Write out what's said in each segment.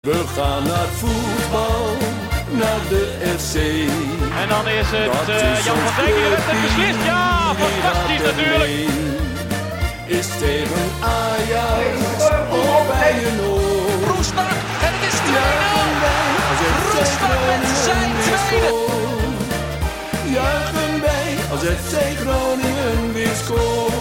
We gaan naar voetbal, naar de FC. En dan is het eh, Jan van Dijk die de wedstrijd beslist. Ja, fantastisch natuurlijk. Is tegen Ajax of bij een oor. Roesbach en het is 2-0. Roestak Roestak met zijn tweede. Juichen wij als FC Groningen weer scoort.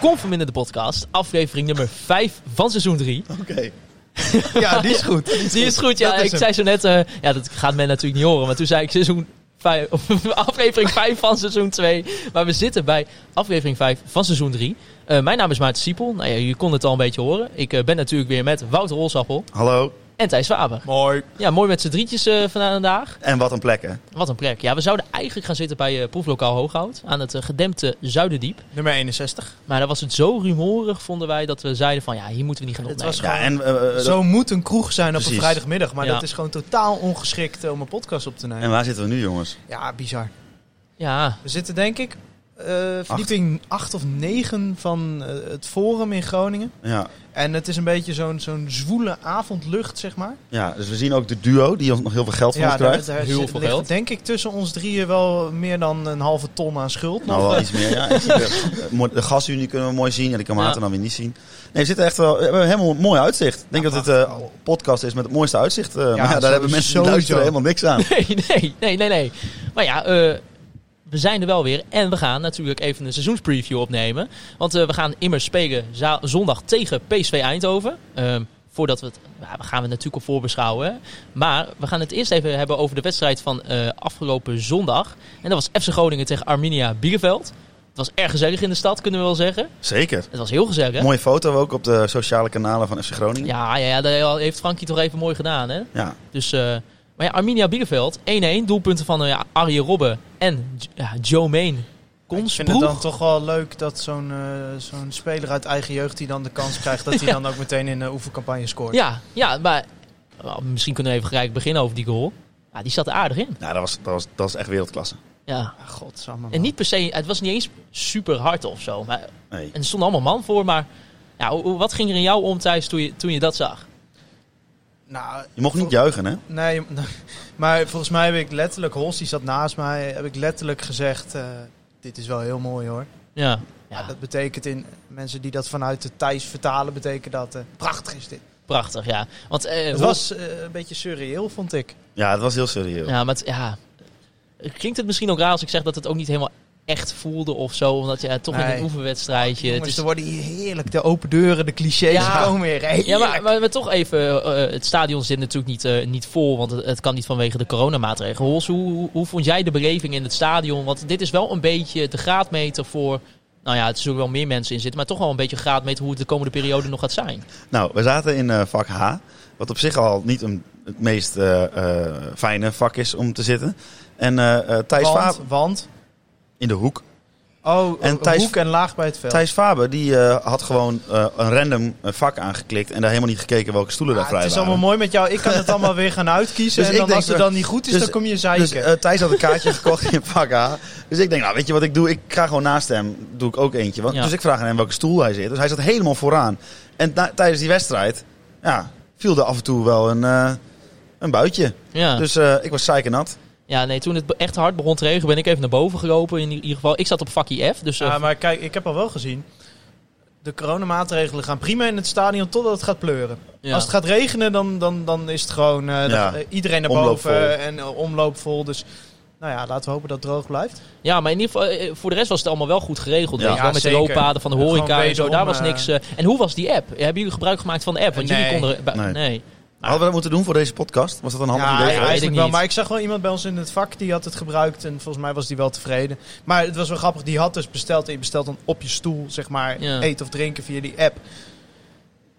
Kom verminder de podcast, aflevering nummer 5 van seizoen 3. Oké. Ja, die is goed. Die is goed, ja. Dat is ik hem. zei zo net, eh, ja, dat gaat men natuurlijk niet horen, maar toen zei ik seizoen 5, aflevering 5 van seizoen 2. Maar we zitten bij aflevering 5 van seizoen 3. Eh, mijn naam is Maarten Siepel. Nou ja, je kon het al een beetje horen. Ik eh, ben natuurlijk weer met Wouter Rolsappel Hallo. en Thijs Faber. Mooi. Ja, mooi met z'n drietjes eh, vandaag. En wat een plek, hè? Wat een plek. Ja, we zouden eigenlijk gaan zitten bij eh, proeflokaal Hooghout aan het eh, gedempte Zuiderdiep. Nummer 61. Maar daar was het zo rumoerig, vonden wij, dat we zeiden van ja, hier moeten we niet gaan Het opnemen. was Ja, gewoon... en... eh, eh, Zo moet een kroeg zijn op Precies. een vrijdagmiddag, maar Ja. dat is gewoon totaal ongeschikt eh, om een podcast op te nemen. en waar zitten we nu, jongens? Ja, bizar. Ja, We zitten denk ik eh, verdieping 8 of 9 van eh, het Forum in Groningen. Ja. En het is een beetje zo'n zo'n zwoele avondlucht, zeg maar. ja, dus we zien ook de duo die ons nog heel veel geld van ja, ons krijgt. daar Heel zit- veel ligt geld. denk ik tussen ons drieën wel meer dan een halve ton aan schuld. Nou, nog. wel iets meer, ja. En de, eh, mo- de gasunie kunnen we mooi zien. Ja, die kan Maarten Ja. dan weer niet zien. Nee, we zitten echt wel... We hebben helemaal een mooi uitzicht. Ik denk dat het eh podcast is met het mooiste uitzicht. eh, maar ja, daar sowieso. hebben mensen die luisteren helemaal niks aan. Nee, nee, nee, nee, nee. Maar ja, eh, we zijn er wel weer. En we gaan natuurlijk even een seizoenspreview opnemen. Want eh, we gaan immers spelen za- zondag tegen PSV Eindhoven. Ehm, voordat we het... Ja, we gaan we natuurlijk op voorbeschouwen. hè. Maar we gaan het eerst even hebben over de wedstrijd van eh, afgelopen zondag. En dat was FC Groningen tegen Arminia Bielefeld. Het was erg gezellig in de stad, kunnen we wel zeggen. Zeker. Het was heel gezellig, hè? Mooie foto ook op de sociale kanalen van FC Groningen. Ja. Ja, ja, ja, dat heeft Frankie toch even mooi gedaan, hè? ja. Dus, eh, maar ja, Arminia Bielefeld, 1-1. Doelpunten van eh, ja, Arjen Robben en J- ja, Joe Main. Ik vind het Konsproeg. dan toch wel leuk dat zo'n eh, zo'n speler uit eigen jeugd die dan de kans krijgt dat hij dan ook meteen in de oefencampagne scoort. Ja, ja, maar nou, misschien kunnen we even gelijk beginnen over die goal. Ja, die zat er aardig in. nou, dat, was, dat, was, dat was echt wereldklasse. Ja. Ah, godsamme, man. En niet per se, het was niet eens super hard of zo. Maar, Nee. en er stonden allemaal man voor, maar ja, hoe- hoe- wat ging er in jou om, Thijs, toen je, toen je dat zag? Nou, Je mocht niet juichen, hè? Nee, je- maar volgens mij heb ik letterlijk, Hols die zat naast mij, heb ik letterlijk gezegd, eh, dit is wel heel mooi hoor. Ja, ja Dat betekent in, mensen die dat vanuit de Thijs vertalen, betekent dat, eh, prachtig is dit. prachtig, ja. Want, eh, Het hoe- was eh, een beetje surreëel, vond ik. Ja, het was heel serieus. Ja, maar het, ja, klinkt het misschien ook raar als ik zeg dat het ook niet helemaal echt voelde of zo. Omdat je ja, toch in Nee. Ah, een oefenwedstrijdje... het Jongens, is- er worden hier heerlijk de open deuren, de clichés Ja. komen weer. Heerlijk. Ja, maar, maar, maar toch even. eh, eh, het stadion zit natuurlijk niet, eh, niet vol, want het, het kan niet vanwege de coronamaatregelen. Hols, hoe, hoe, hoe vond jij de beleving in het stadion? Want dit is wel een beetje de graadmeter voor. Nou ja, er zullen wel meer mensen in zitten, maar toch wel een beetje een graadmeter hoe het de komende periode nog gaat zijn. Nou, we zaten in eh, vak H. Wat op zich al niet een, het meest eh, eh, fijne vak is om te zitten. En eh, eh, Thijs want, Faber want, in de hoek. oh, En en Thijs- hoek en laag bij het veld. Thijs Faber die eh, had gewoon eh, een random eh, vak aangeklikt. En daar helemaal niet gekeken welke stoelen Ah, daar vrij het is waren. allemaal mooi met jou. Ik kan het allemaal weer gaan uitkiezen. Dus en ik dan denk als het zo- dan niet goed is, dus- dan kom je zeiken. Dus eh, Thijs had een kaartje gekocht in vak H. Dus ik denk, nou weet je wat ik doe? Ik ga gewoon naast hem, doe ik ook eentje. Want, Ja. Dus ik vraag aan hem welke stoel hij zit. Dus hij zat helemaal vooraan. En na- tijdens die wedstrijd ja, viel er af en toe wel een, eh, een buitje. Ja, Dus eh, ik was zeikernat. ja nee, toen het be- echt hard begon te regenen, ben ik even naar boven gelopen. In i- ieder geval, ik zat op vakkie F, dus eh, Ja, maar kijk, ik heb al wel gezien. De coronamaatregelen gaan prima in het stadion totdat het gaat pleuren. ja. Als het gaat regenen, dan, dan, dan is het gewoon eh, dat- Ja. eh, iedereen naar Omloop boven vol. eh, en eh, omloop vol. Dus nou ja, laten we hopen dat het droog blijft. Ja, maar in ieder geval, eh, voor de rest was het allemaal wel goed geregeld. weet Ja. je wel, Ja, met zeker. de looppaden van de Gewoon horeca en zo, wederom, daar was eh, niks. eh, en hoe was die app? Hebben jullie gebruik gemaakt van de app? Want jullie Nee. konden... er- Nee. nee. Hadden we dat moeten doen voor deze podcast? Was dat een handig ja, idee? ja, geweest? weet ik eigenlijk wel. niet. Maar ik zag wel iemand bij ons in het vak die had het gebruikt. En volgens mij was die wel tevreden. Maar het was wel grappig. Die had dus besteld. En je bestelt dan op je stoel, zeg maar, Ja. eten of drinken via die app.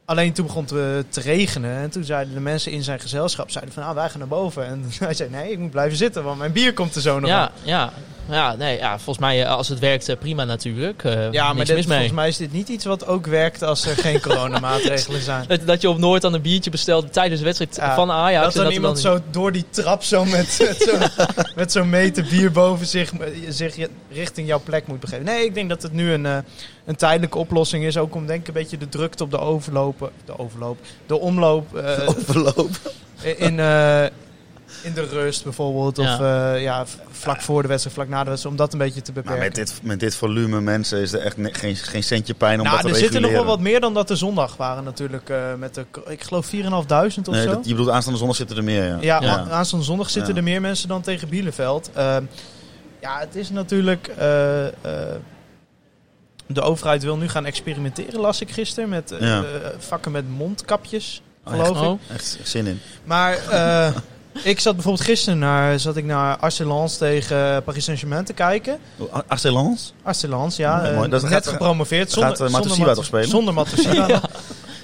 Alleen toen begon het eh, te regenen. En toen zeiden de mensen in zijn gezelschap, zeiden van, ah, wij gaan naar boven. En hij zei, nee, ik moet blijven zitten, want mijn bier komt er zo nog aan. Ja, ja, ja, nee, ja, volgens mij eh, als het werkt eh, prima natuurlijk. Eh, Ja, maar niks dit, mis mee. volgens mij is dit niet iets wat ook werkt als er geen coronamaatregelen zijn. Dat, dat je op Noord dan een biertje bestelt tijdens de wedstrijd Ah. Ja, van Ajax. dat en dan er iemand zo door die trap zo met, met zo'n met zo'n meter bier boven zich, zich je- richting jouw plek moet begeven. Nee, ik denk dat het nu een, eh, een tijdelijke oplossing is. Ook om denk ik een beetje de drukte op de overlopen, de overloop, de omloop eh, Overloop. in, eh, in de rust bijvoorbeeld. Of Ja. eh, ja, v- vlak voor de wedstrijd, vlak na de wedstrijd. Om dat een beetje te Maar beperken. Nou, met dit, met dit volume mensen is er echt ne- geen, geen centje pijn om dat nou, te er reguleren. zitten nog wel wat meer dan dat er zondag waren natuurlijk. eh, met de, ik geloof 4.500 of Nee, zo. dat, je bedoelt aanstaande zondag zitten er meer, ja. Ja, Ja. a- aanstaande zondag zitten Ja. er meer mensen dan tegen Bieleveld. Ehm, ja, het is natuurlijk. eh, eh, de overheid wil nu gaan experimenteren, las ik gisteren. Met eh, Ja. eh, vakken met mondkapjes, Oh, geloof ik. Oh, Echt zin in. Maar eh, ik zat bijvoorbeeld gisteren naar, zat ik naar Arcelans tegen Paris Saint-Germain te kijken. Oh, A- Arcelans? Arcelans, ja. Ja, eh, mooi. Dat net gaat- gepromoveerd. gaat, Zonder, eh, Matosiwa Mat- toch spelen? Zonder Matosiwa.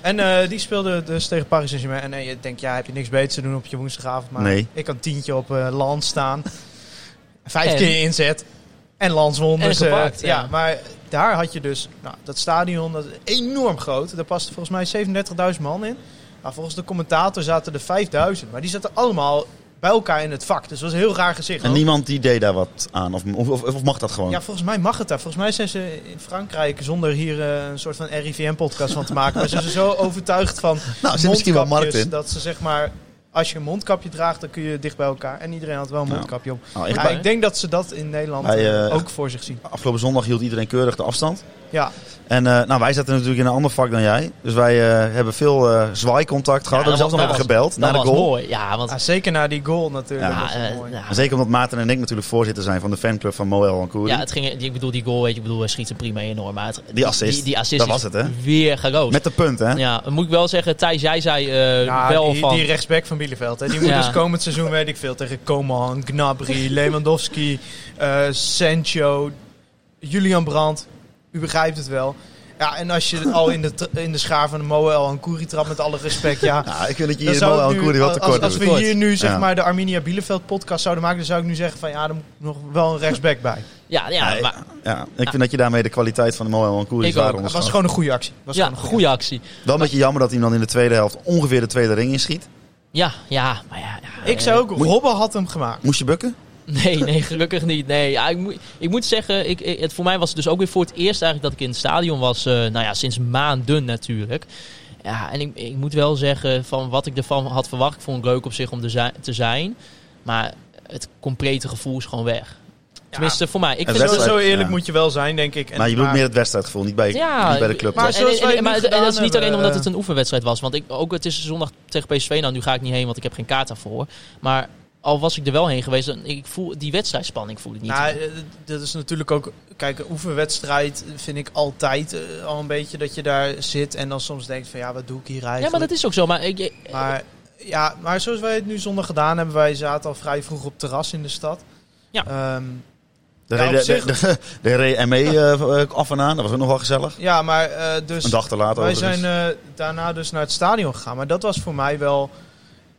En eh, die speelde dus tegen Paris Saint-Germain. En eh, je denkt, ja, heb je niks beter te doen op je woensdagavond. Maar Nee. ik had tientje op eh Lans staan. Vijf En? keer inzet. En Lans won. En Dus, eh, gepakt, ja. ja. maar daar had je dus... Nou, dat stadion, dat is enorm groot. Daar paste volgens mij 37.000 man in. Maar volgens de commentator zaten er 5.000. Maar die zaten allemaal bij elkaar in het vak. Dus dat was een heel raar gezicht. En Ook- niemand die deed daar wat aan? Of, of, of- of mag dat gewoon? ja, volgens mij mag het daar. Volgens mij zijn ze in Frankrijk, zonder hier eh, een soort van RIVM-podcast van te maken, maar ze zijn zo overtuigd van Nou, er zit misschien wel markt mondkapjes, in. dat ze zeg maar, als je een mondkapje draagt, dan kun je dicht bij elkaar. En iedereen had wel een Nou, mondkapje op. Nou, Ja, echt, ik denk dat ze dat in Nederland Bij, eh, eh, ook voor zich zien. afgelopen zondag hield iedereen keurig de afstand. Ja, En eh, nou, wij zaten natuurlijk in een ander vak dan jij. Dus wij eh, hebben veel eh, zwaaicontact gehad. Ja, we dat hebben zelfs nog was- even gebeld naar dat de was goal. mooi. Ja, want... Ah, zeker na die goal natuurlijk. Ja, dat is wel eh, mooi. ja, Maar Zeker omdat Maarten en ik natuurlijk voorzitter zijn van de fanclub van Moel en Koeri. Ja, het ging, ik bedoel, die goal, weet je, ik bedoel, hij schiet er prima enorm uit. Die assist. Die, die assist Dat is was het, hè? Weer gerood. Met de punt, hè? Ja, moet ik wel zeggen, Thijs, jij zei eh, Ja, wel die, van... die rechtsback van Bieleveld. Hè, die moet Ja. dus komend seizoen, weet ik veel, tegen Coman, Gnabry, Lewandowski, eh Sancho, Julian Brandt. U begrijpt het wel. Ja, en als je al in de, tra- in de schaar van de Moel en Koeri trapt, met alle respect, ja. Nou, ik vind dat je dan hier zou ik Moel en nu- Koeri wat als, tekort als we doet. hier nu zeg Ja. maar de Arminia Bieleveld podcast zouden maken, dan zou ik nu zeggen van ja, er moet nog wel een rechtsback bij. Ja, ja, Nee, maar ja, ik vind dat je daarmee de kwaliteit van de Moel en Koeri Ik zwaar ook. Dat onderschat. was gewoon een goede actie. Was ja, gewoon een goede actie. Wel een beetje jammer dat hij hem dan in de tweede helft ongeveer de tweede ring inschiet. Ja, ja, maar ja. ja, Ik eh, zou ook, Robben had hem gemaakt. Moest je bukken? Nee, nee, gelukkig niet. Nee, ja, ik, moet, ik moet zeggen, ik, ik- het, voor mij was het dus ook weer voor het eerst eigenlijk dat ik in het stadion was. eh, nou ja, sinds maanden natuurlijk. Ja, en ik, ik moet wel zeggen, van wat ik ervan had verwacht, ik vond het leuk op zich om er zi- te zijn. Maar het complete gevoel is gewoon weg. Tenminste, voor mij. Ik vind Het Zo, wedstrijd- het, zo eerlijk ja. moet je wel zijn, denk ik. En- maar je bedoelt maar- meer het wedstrijdgevoel, niet bij, Ja, niet bij de club. maar toch? en, zoals en- wij en- nu maar het- en dat is niet gedaan alleen omdat het hebben, eh. een oefenwedstrijd was. Want ik, ook, het is zondag tegen PSV. Nou, nu ga ik niet heen, want ik heb geen kaart daarvoor. Maar al was ik er wel heen geweest, dan, ik voel, die wedstrijdspanning voel ik niet. Nou, eh, dat is natuurlijk ook. Kijk, een oefenwedstrijd vind ik altijd eh, al een beetje dat je daar zit en dan soms denkt van ja, wat doe ik hier eigenlijk? ja, maar dat is ook zo. Maar, ik, Maar, ja, maar zoals wij het nu zondag gedaan hebben, wij zaten al vrij vroeg op het terras in de stad. Ja. Ehm, De Ja, op reden- zich- de- de- de reden ME eh, eh, af en aan, dat was ook nog wel gezellig. ja maar eh, dus. Een dag te laat wij overigens. zijn eh, daarna dus naar het stadion gegaan. Maar dat was voor mij wel.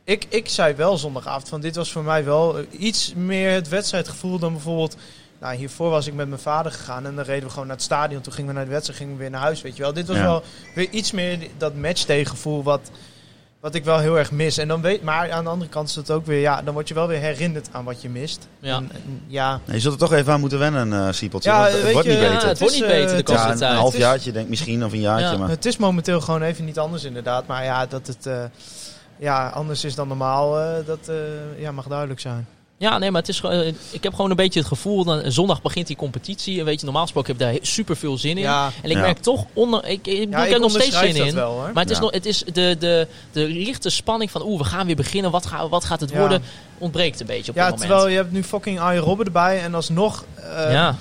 Ik, ik zei wel zondagavond van dit was voor mij wel eh, iets meer het wedstrijdgevoel dan bijvoorbeeld. Nou, hiervoor was ik met mijn vader gegaan en dan reden we gewoon naar het stadion. Toen gingen we naar de wedstrijd, gingen we weer naar huis, weet je wel. Dit was Ja. wel weer iets meer die- dat matchday-gevoel wat, wat ik wel heel erg mis. En dan weet, maar aan de andere kant is het ook weer, ja, dan word je wel weer herinnerd aan wat je mist. Ja. En- en ja. Nee, je zult er toch even aan moeten wennen, eh Siepeltje. Ja, want het weet wordt niet je, beter. Ja, het wordt is, niet eh, beter de het Ja, komende een tijd. halfjaartje denk misschien, of een jaartje. Ja. maar. Het is momenteel gewoon even niet anders inderdaad. Maar ja, dat het eh, ja, anders is dan normaal, eh, dat eh, ja, mag duidelijk zijn. Ja, nee, maar het is, gewoon- eh, ik heb gewoon een beetje het gevoel... Dan, zondag begint die competitie. En weet je, normaal gesproken heb ik daar super veel zin in. Ja, En ik Ja. merk toch... Onder, ik, ik, bedoel, ja, ik heb nog steeds onderschrijf zin dat in. wel hoor. Maar het is, Ja. nog, het is de, de, de lichte spanning van... Oeh, we gaan weer beginnen. Wat, gaan, wat gaat het Ja. worden? Ontbreekt een beetje op Ja, dit moment. terwijl je hebt nu fucking Arjen Robben erbij en alsnog... eh, ja.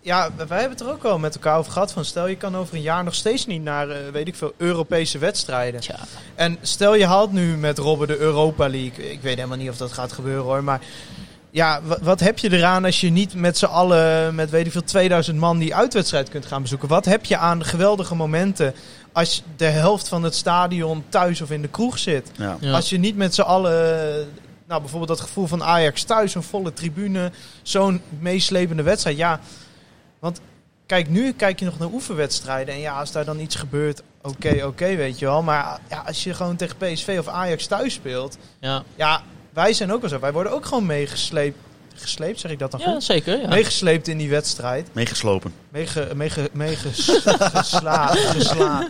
ja, wij hebben het er ook wel met elkaar over gehad van stel je kan over een jaar nog steeds niet naar, eh, weet ik veel, Europese wedstrijden. tja. En stel je haalt nu met Robben de Europa League. Ik weet helemaal niet of dat gaat gebeuren hoor. Maar ja, wa- wat heb je eraan als je niet met z'n allen, met weet ik veel, 2000 man die uitwedstrijd kunt gaan bezoeken? Wat heb je aan geweldige momenten als de helft van het stadion thuis of in de kroeg zit? Ja. Ja. Als je niet met z'n allen, eh, nou bijvoorbeeld dat gevoel van Ajax thuis, een volle tribune, zo'n meeslepende wedstrijd. Ja, want kijk, nu kijk je nog naar oefenwedstrijden. En ja, als daar dan iets gebeurt, oké, oké, weet je wel. Maar ja, als je gewoon tegen PSV of Ajax thuis speelt, Ja. ja, wij zijn ook wel zo. Wij worden ook gewoon meegesleept. gesleept, zeg ik dat dan Ja, goed? zeker. Ja. Meegesleept in die wedstrijd. Meegeslopen. Meege, meege, meegesla, gesla,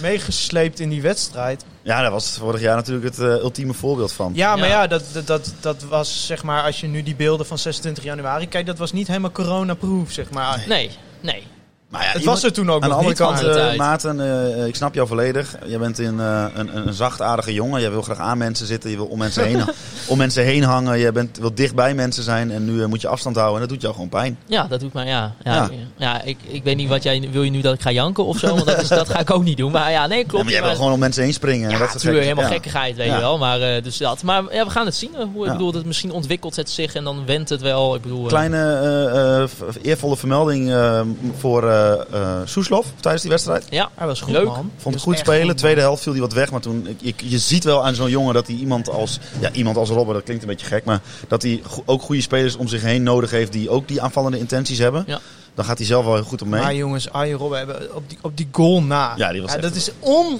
meegesleept in die wedstrijd. Ja, daar was vorig jaar natuurlijk het eh, ultieme voorbeeld van. Ja, maar Ja. ja, dat, dat- dat, dat was zeg maar, als je nu die beelden van 26 januari kijkt, dat was niet helemaal coronaproof, zeg maar. Nee, nee. Maar ja, Het iemand- was er toen ook Aan de nog andere niet. kant, maar- de eh, tijd. Maarten, eh, ik snap jou volledig. Je bent een, eh, een, een- een zachtaardige jongen. Je wil graag aan mensen zitten. Je wil om mensen heen, om mensen heen hangen. Je bent, wil dicht bij mensen zijn. En nu eh, moet je afstand houden. En dat doet jou gewoon pijn. Ja, dat doet mij, ja. Ja, Ja. ja. ik, ik weet niet wat jij... Wil je nu dat ik ga janken of zo? Want dat, is, dat ga ik ook niet doen. Maar ja, nee, Ja, klopt. maar jij wil maar- gewoon om mensen heen springen. en Ja, dat soort natuurlijk, gekke- helemaal ja. gekkigheid, weet Ja. je wel. Maar, eh, dus dat. maar ja, we gaan het zien. eh, Hoe, Ja. Ik bedoel, dat misschien ontwikkelt het zich en dan wendt het wel. Ik bedoel, eh, Kleine eh, eh, v- eervolle vermelding eh, voor eh eh, Soeslof tijdens die wedstrijd. ja, Hij was goed, Leuk. man. Vond Hij was het goed Dus echt spelen. man. Tweede helft viel hij wat weg. Maar toen, ik- ik- je ziet wel aan zo'n jongen dat hij iemand als, ja, iemand als Robben, dat klinkt een beetje gek. Maar dat hij go- ook goede spelers om zich heen nodig heeft die ook die aanvallende intenties hebben. Ja. Dan gaat hij zelf wel heel goed op mee. Maar jongens, Arjen Robben hebben op die, op die goal na. Ja, die was echt dat is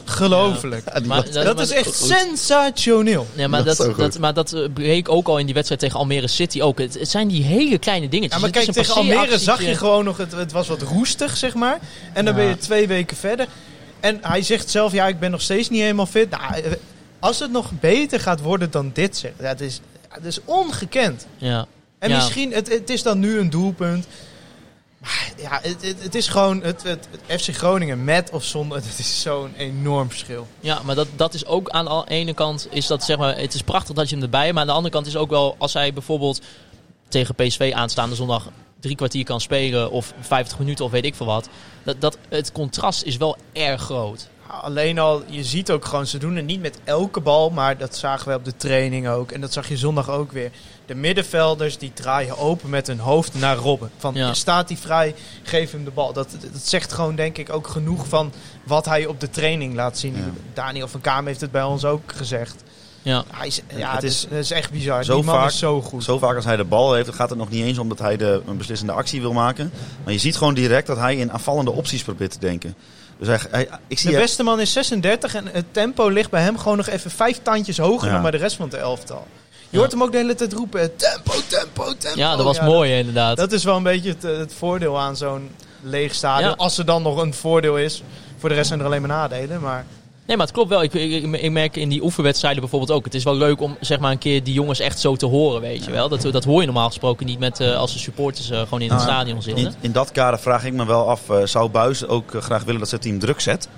ongelooflijk. Ja, die maar was- Dat maar- is echt sensationeel. Nee, maar Dat dat, is ook dat, goed. maar dat eh, bleek ook al in die wedstrijd tegen Almere City ook. Het, het zijn die hele kleine dingetjes. Ja, maar Dus Het is kijk, een tegen Almere passeeractietje. zag je gewoon nog, het, het was wat roestig, zeg maar. En dan Ja. ben je twee weken verder. En hij zegt zelf, ja, ik ben nog steeds niet helemaal fit. Nou, eh, als het nog beter gaat worden dan dit, zeg, dat, is, dat is ongekend. Ja. En Ja. misschien, het, het is dan nu een doelpunt. Maar ja, het, het, het is gewoon, het, het, het FC Groningen met of zonder, het is zo'n enorm verschil. Ja, maar dat, dat is ook aan de ene kant, is dat, zeg maar, het is prachtig dat je hem erbij hebt. Maar aan de andere kant is ook wel, als hij bijvoorbeeld tegen PSV aanstaande zondag drie kwartier kan spelen. Of 50 minuten of weet ik veel wat. Dat, dat, het contrast is wel erg groot. Alleen al, je ziet ook gewoon, ze doen het niet met elke bal, maar dat zagen wij op de training ook. En dat zag je zondag ook weer. De middenvelders die draaien open met hun hoofd naar Robben. Van Ja. staat hij vrij, geef hem de bal. Dat, dat zegt gewoon denk ik ook genoeg van wat hij op de training laat zien. Ja. Daniel van Kaam heeft het bij ons ook gezegd. Ja, Hij is, ja, Ja, het het is is, het is echt bizar. zo Die man vaak- is zo goed. Zo vaak als hij de bal heeft, gaat het nog niet eens om dat hij de, een beslissende actie wil maken. Maar je ziet gewoon direct dat hij in aanvallende opties probeert te denken. Dus hij, hij- ik zie De beste man is 36 en het tempo ligt bij hem gewoon nog even vijf tandjes hoger Ja. dan bij de rest van het elftal. Je Ja. hoort hem ook de hele tijd roepen, eh, tempo, tempo, tempo. ja dat was dat- mooi inderdaad. Dat is wel een beetje het, eh, het voordeel aan zo'n leeg stadion. Ja. Als er dan nog een voordeel is. Voor de rest zijn er alleen maar nadelen. Maar Nee, maar het klopt wel. Ik, ik, ik merk in die oefenwedstrijden bijvoorbeeld ook. Het is wel leuk om zeg maar een keer die jongens echt zo te horen, weet je wel. Dat, dat hoor je normaal gesproken niet met, eh, als de supporters eh, gewoon in het Ah, stadion zitten. in, in dat kader vraag ik me wel af, eh, zou Buis ook eh, graag willen dat zijn team druk zet?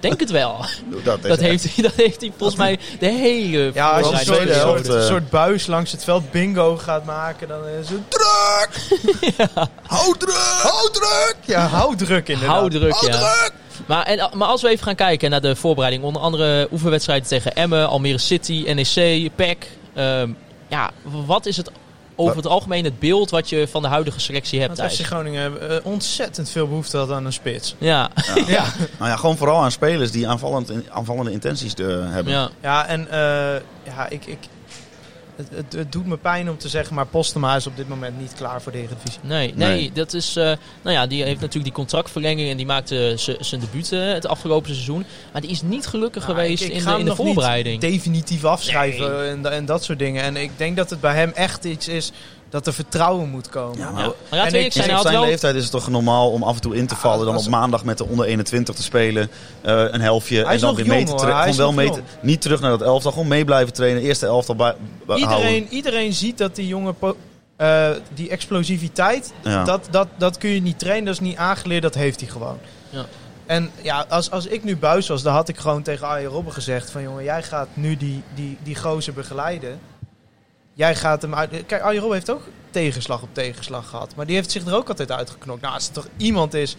Denk het wel. Dat, Dat heeft, hij- dat heeft hij volgens mij de hele ja, als je de voorbereiding een soort, tweede episode- helft, soort, eh. soort buis langs het veld bingo gaat maken, dan is het druk. Houd druk! Houd druk! Ja, hou druk inderdaad. Hou druk, Houd ja. druk! Maar, en, eh, maar als we even gaan kijken naar de voorbereiding. Onder andere oefenwedstrijden tegen Emmen, Almere City, E NEC, PEC. Ehm, ja, wat is het over het algemeen het beeld wat je van de huidige selectie hebt? Want FC Thijs? Groningen eh, ontzettend veel behoefte had aan een spits. Ja, Ja, Nou ja, gewoon vooral aan spelers die aanvallend, aanvallende intenties eh, hebben. ja. ja en eh, ja, ik, ik, het, het, het doet me pijn om te zeggen, maar Postema is op dit moment niet klaar voor de Eredivisie. Nee, nee, Nee. dat is. eh, nou ja, die heeft natuurlijk die contractverlenging en die maakte z- zijn debuut eh, het afgelopen seizoen. Maar die is niet gelukkig Ja, geweest Nou, ik- ik in ga de, hem in de nog niet voorbereiding. definitief afschrijven en, da- en dat soort dingen. En ik denk dat het bij hem echt iets is dat er vertrouwen moet komen. Ja, Ja. maar Maar Nou, ja, En twee ik- ik In zijn zijn had wel. leeftijd is het toch normaal om af en toe in te vallen. Dan als- op maandag met de onder 21 te spelen. eh, een helftje. Hij En is dan nog weer jong, mee te hoor. tra- Hij Gewoon is wel nog mee te, jong. niet terug naar dat elftal. Gewoon mee blijven trainen. Eerste elftal bij, bij- houden. Iedereen, iedereen ziet dat die jongen... po- eh, die explosiviteit, Ja. dat, dat, dat kun je niet trainen. Dat is niet aangeleerd, dat heeft hij gewoon. Ja. En ja, als, als ik nu buis was, dan had ik gewoon tegen Arjen Robben gezegd... van jongen, jij gaat nu die, die, die gozer begeleiden. Jij gaat hem uit... Kijk, Arjen Robben heeft ook tegenslag op tegenslag gehad. Maar die heeft zich er ook altijd uitgeknokt. Nou, als er toch iemand is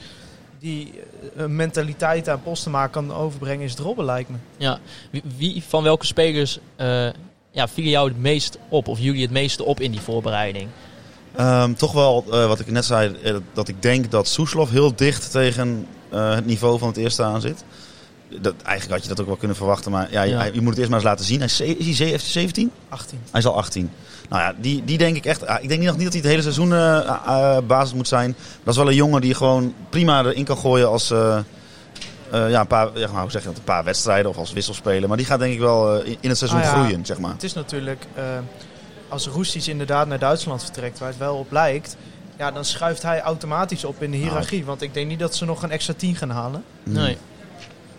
die eh, een mentaliteit aan Postema kan overbrengen... is het Robben, lijkt me. Ja. Wie, wie van welke spelers eh, ja, vielen jou het meest op? Of jullie het meeste op in die voorbereiding? Ehm, toch wel, eh, wat ik net zei, eh, dat ik denk dat Soeslof heel dicht tegen eh, het niveau van het eerste aan zit. Dat, eigenlijk had je dat ook wel kunnen verwachten, maar ja, je- Ja. hij- je moet het eerst maar eens laten zien. Hij is, ze- is hij ze- 17? 18. Hij is al 18. Nou ja, die, die denk ik echt. ah, Ik denk nog niet dat hij het hele seizoen eh, eh, basis moet zijn. Dat is wel een jongen die gewoon prima erin kan gooien als. eh, eh, ja, een paar, ja, maar hoe zeg je dat? Een paar wedstrijden of als wisselspeler. Maar die gaat denk ik wel eh, in- in het seizoen Ah ja. groeien, zeg maar. Het is natuurlijk. eh, als Roestic inderdaad naar Duitsland vertrekt, waar het wel op lijkt, ja, dan schuift hij automatisch op in de Nou. hiërarchie. Want ik denk niet dat ze nog een extra 10 gaan halen. Hmm. Nee.